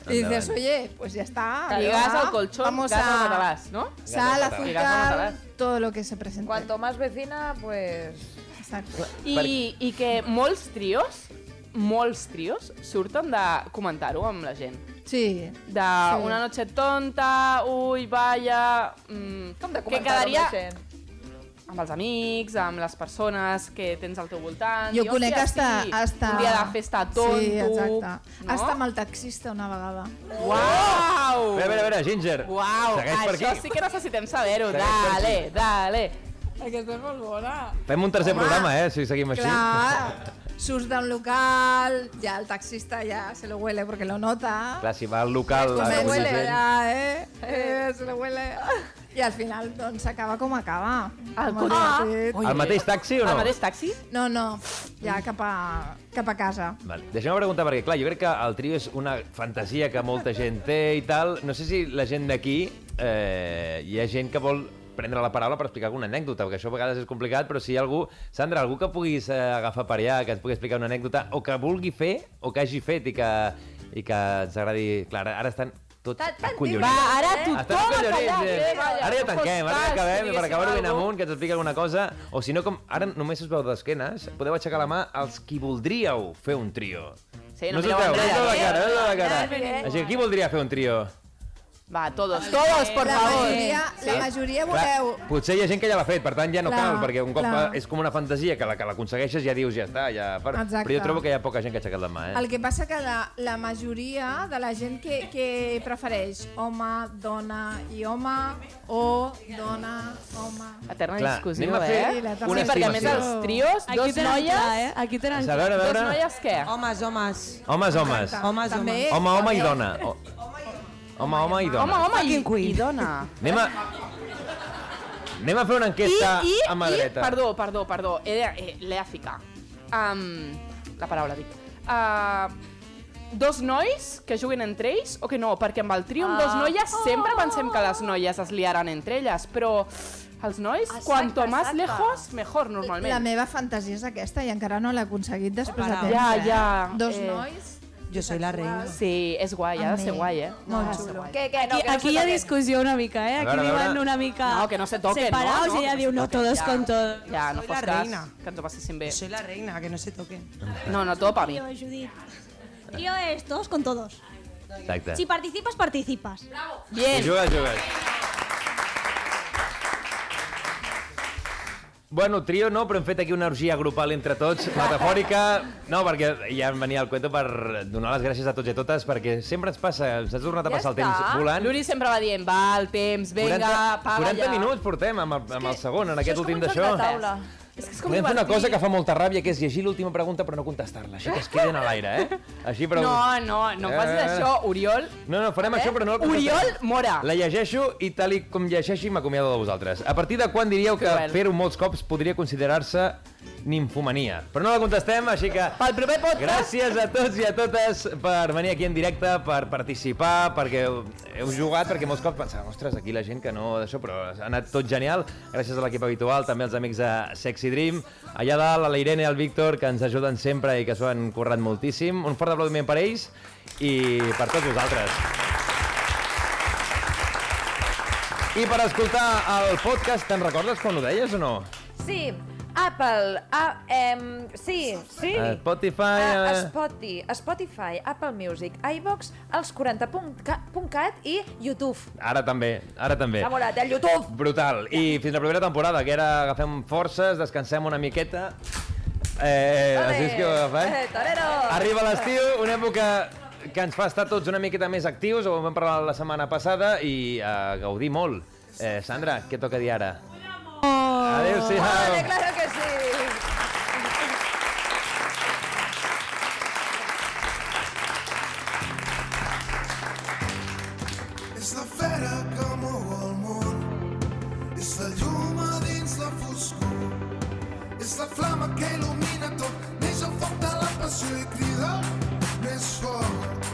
Speaker 12: I dices,
Speaker 9: Endavant.
Speaker 12: oye, pues ya está.
Speaker 9: Claro.
Speaker 12: amiga,
Speaker 9: Ligas al colchón,
Speaker 12: Ah, vamos
Speaker 9: gas
Speaker 12: a...
Speaker 9: al matalàs, ¿no?
Speaker 12: Sal,
Speaker 9: Gas al matalàs. Ligas al
Speaker 12: azúcar,
Speaker 9: matalàs.
Speaker 12: todo lo que se presente.
Speaker 4: cuanto más vecina, pues...
Speaker 12: Exacte.
Speaker 9: I, I que molts trios, molts trios, surten de comentar-ho amb la gent.
Speaker 12: Sí.
Speaker 9: De una noche tonta, ui, vaya... Mm,
Speaker 4: Com de
Speaker 9: que
Speaker 4: comentar
Speaker 9: quedaria
Speaker 4: amb la gent.
Speaker 9: amb els amics, amb les persones que tens al teu voltant.
Speaker 12: Jo
Speaker 9: i,
Speaker 12: conec
Speaker 9: "Hòstia,
Speaker 12: hasta,
Speaker 9: sí,
Speaker 12: hasta...
Speaker 9: Un dia de festa tonto.
Speaker 12: Sí, exacte.
Speaker 9: No?
Speaker 12: Hasta amb el taxista una vegada.
Speaker 9: Uau!
Speaker 3: A veure, a veure, a veure, Ginger.
Speaker 9: Uau,
Speaker 3: Segueix per
Speaker 9: això
Speaker 3: aquí.
Speaker 9: sí que necessitem saber-ho.
Speaker 3: Segueix per aquí.
Speaker 9: Dale, dale. Aquesta és molt bona.
Speaker 3: Fem un tercer
Speaker 12: Home,
Speaker 3: programa, eh, si seguim així.
Speaker 12: Clar, surts d'un local, ja el taxista ja se lo huele porque lo nota.
Speaker 3: Clar, si va al local...
Speaker 12: Com
Speaker 3: a
Speaker 12: se
Speaker 3: Rubí
Speaker 12: huele,
Speaker 3: Vell-
Speaker 12: ja, eh? eh? Se lo huele. I al final, doncs, acaba com acaba. El
Speaker 9: cotxe. Ah.
Speaker 3: Al mateix taxi o no?
Speaker 9: Al mateix taxi?
Speaker 12: No, no, ja cap a, cap a casa.
Speaker 3: Vale. Deixa'm preguntar, perquè clar, jo crec que el trio és una fantasia que molta gent té i tal. No sé si la gent d'aquí, eh, hi ha gent que vol prendre la paraula per explicar alguna anècdota, perquè això a vegades és complicat, però si hi ha algú... Sandra, algú que puguis eh, agafar per allà, que ens pugui explicar una anècdota, o que vulgui fer, o que hagi fet, i que, i que ens agradi... Clar, ara estan tots acollonits.
Speaker 9: Va, ara tothom
Speaker 3: Estan
Speaker 9: a
Speaker 3: acollonits,
Speaker 9: callar,
Speaker 3: gent.
Speaker 9: eh, vaya,
Speaker 3: Ara ja
Speaker 9: no
Speaker 3: tanquem, ara
Speaker 9: fos
Speaker 3: ja acabem,
Speaker 9: pas,
Speaker 3: i per acabar-ho ben
Speaker 9: diguéssim,
Speaker 3: amunt, que ens expliqui alguna cosa, o si no, com ara només us veu d'esquenes, podeu aixecar la mà als qui voldríeu fer un trio.
Speaker 9: Sí,
Speaker 3: no
Speaker 9: no
Speaker 3: us
Speaker 9: mireu
Speaker 3: veu, no us
Speaker 9: enrere,
Speaker 3: veu la cara, no us
Speaker 9: eh?
Speaker 3: veu la
Speaker 9: Ja
Speaker 3: cara.
Speaker 9: venim.
Speaker 3: Així, qui voldria fer un trio?
Speaker 9: Va, todos, todos, por
Speaker 12: la
Speaker 9: favor.
Speaker 12: Majoria, La majoria voleu...
Speaker 3: potser hi ha gent que ja l'ha fet, per tant ja no
Speaker 12: Clar,
Speaker 3: cal, perquè un cop
Speaker 12: clar.
Speaker 3: és com una fantasia que la que l'aconsegueixes ja dius, ja està, ja... Per...
Speaker 12: Exacte.
Speaker 3: Però jo trobo que hi ha poca gent que ha aixecat la mà, eh?
Speaker 12: El que passa que la, la majoria de la gent que, que prefereix home, dona i home o dona, home...
Speaker 9: Eterna
Speaker 3: Clar,
Speaker 9: discussió,
Speaker 3: anem a fer
Speaker 9: eh?
Speaker 12: una
Speaker 9: sí, perquè a més
Speaker 3: estimació.
Speaker 9: els trios,
Speaker 13: Aquí
Speaker 9: dos
Speaker 13: tenen
Speaker 9: noies...
Speaker 13: clar, eh? Aquí tenen
Speaker 3: A veure, a
Speaker 13: clar.
Speaker 3: veure.
Speaker 13: Dos
Speaker 9: noies què?
Speaker 13: Homes, homes.
Speaker 3: Homes, homes.
Speaker 13: Homes,
Speaker 3: Home,
Speaker 13: homes.
Speaker 3: home, home i dona. O... Home, home i dona.
Speaker 9: Eh, Home, home, i, i dona.
Speaker 3: Anem a... Anem a fer una enquesta
Speaker 9: I,
Speaker 3: a mà
Speaker 9: i,
Speaker 3: dreta.
Speaker 9: perdó, perdó, perdó, he de- eh, l'he de ficar. Um, la paraula, dic. Uh, dos nois que juguin entre ells o que no, perquè amb el trio amb dos
Speaker 13: Ah.
Speaker 9: noies sempre pensem que les noies es liaran entre elles, però els nois, cuanto más
Speaker 12: exacte.
Speaker 9: lejos, mejor, normalment.
Speaker 12: La meva fantasia és aquesta i encara no l'he aconseguit després de
Speaker 9: Para.
Speaker 12: temps.
Speaker 9: Ja,
Speaker 12: eh?
Speaker 9: ja.
Speaker 12: Dos
Speaker 9: eh,
Speaker 12: nois...
Speaker 13: Jo soy la reina.
Speaker 9: Sí, és guai, ha de ser
Speaker 13: Amén.
Speaker 9: guai, eh?
Speaker 12: Molt
Speaker 9: Ha de ser
Speaker 12: xulo.
Speaker 9: guai.
Speaker 4: Que, que no,
Speaker 13: Aquí,
Speaker 4: que no
Speaker 13: aquí
Speaker 4: se
Speaker 13: hi ha
Speaker 4: toquen.
Speaker 13: discussió una mica, eh?
Speaker 9: A
Speaker 13: Aquí
Speaker 9: veure, a veure.
Speaker 13: viuen una mica...
Speaker 9: No, que no se toquen,
Speaker 13: separados
Speaker 9: no, no,
Speaker 13: i ella
Speaker 9: que
Speaker 13: diu,
Speaker 9: no
Speaker 13: no
Speaker 9: se toquen,
Speaker 13: todos
Speaker 9: ja.
Speaker 13: con todos.
Speaker 9: Ja, no
Speaker 13: Soy
Speaker 9: fos
Speaker 13: la
Speaker 9: cas,
Speaker 13: reina.
Speaker 9: que ens ho passessin bé.
Speaker 13: Soy la reina, que no se toquen.
Speaker 9: No, no, todo para mí.
Speaker 11: Tío, Judit. Tío es todos con todos.
Speaker 3: Exacte.
Speaker 11: Si participas, participas.
Speaker 3: I Jugues, jugues. Bueno, trio no, però hem fet aquí una orgia grupal entre tots, metafòrica. No, perquè ja em venia al cuento per donar les gràcies a tots i a totes, perquè sempre ens passa, ens ha tornat a passar el temps volant.
Speaker 9: L'Uri sempre va dient, va, el temps, vinga,
Speaker 3: 40,
Speaker 9: paga
Speaker 3: 40
Speaker 9: ja.
Speaker 3: minuts portem amb el, amb el segon, en aquest últim d'això.
Speaker 9: És que és com
Speaker 3: Podem fer una
Speaker 9: divertit.
Speaker 3: cosa que fa molta ràbia, que és llegir l'última pregunta però no contestar-la, així que es queden a l'aire, eh? Així, però...
Speaker 9: No, no, no em facis això, Oriol.
Speaker 3: No, no, farem
Speaker 9: Eh?
Speaker 3: això, però no...
Speaker 9: Oriol Mora.
Speaker 3: La llegeixo i tal i com llegeixi m'acomiado de vosaltres. A partir de quan diríeu que
Speaker 9: Cruel.
Speaker 3: fer-ho molts cops podria considerar-se ninfomania. Però no la contestem, així que... Pel primer podcast! Gràcies a tots i a totes per venir aquí en directe, per participar, perquè heu jugat, perquè molts cops pensava, ostres, aquí la gent que no... Això, però ha anat tot genial. Gràcies a l'equip habitual, també als amics de Sexy Dream. Allà dalt, a la Irene i al Víctor, que ens ajuden sempre i que s'ho han currat moltíssim. Un fort aplaudiment per ells i per tots vosaltres. I per escoltar el podcast, te'n recordes quan ho deies o no?
Speaker 4: Sí, Apple, a, em, sí, sí.
Speaker 3: A Spotify,
Speaker 4: A,
Speaker 3: a-
Speaker 4: Spotify, Spotify, Apple Music, iVox, els 40.cat i YouTube.
Speaker 3: Ara també, ara també.
Speaker 4: S'ha morat, el YouTube!
Speaker 3: Brutal. I fins la primera temporada, que era agafem forces, descansem una miqueta... Eh,
Speaker 4: Ole!
Speaker 3: així és que ho agafem.
Speaker 4: Eh, torero!
Speaker 3: Arriba l'estiu, una època que ens fa estar tots una miqueta més actius, ho vam parlar la setmana passada, i eh, gaudir molt. Eh, Sandra, què toca dir ara? Adéu-siau!
Speaker 4: Vale, claro que sí.
Speaker 18: És la fera que mou el món, és la llum a dins la foscor, és la flama que il·lumina tot, neix el foc de la passió i crida més fort.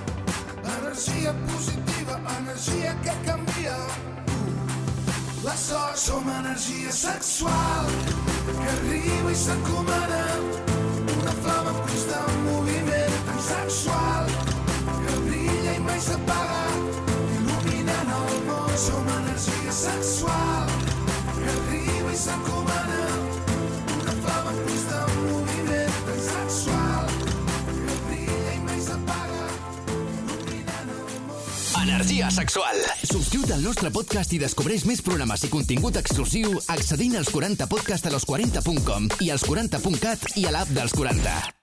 Speaker 18: Energia positiva, energia que canvia. Uh. La sort som energia sexual que arriba i s'encomana. Una flama en constant moviment tan sexual que brilla i mai s'apaga. Il·luminant el món som energia sexual que arriba i s'encomana. Una flama en constant moviment tan sexual que brilla i mai s'apaga.
Speaker 1: Energia sexual. Subscriu't al nostre podcast i descobreix més programes i contingut exclusiu accedint als 40podcastalos40.com i als 40.cat i a l'app dels 40.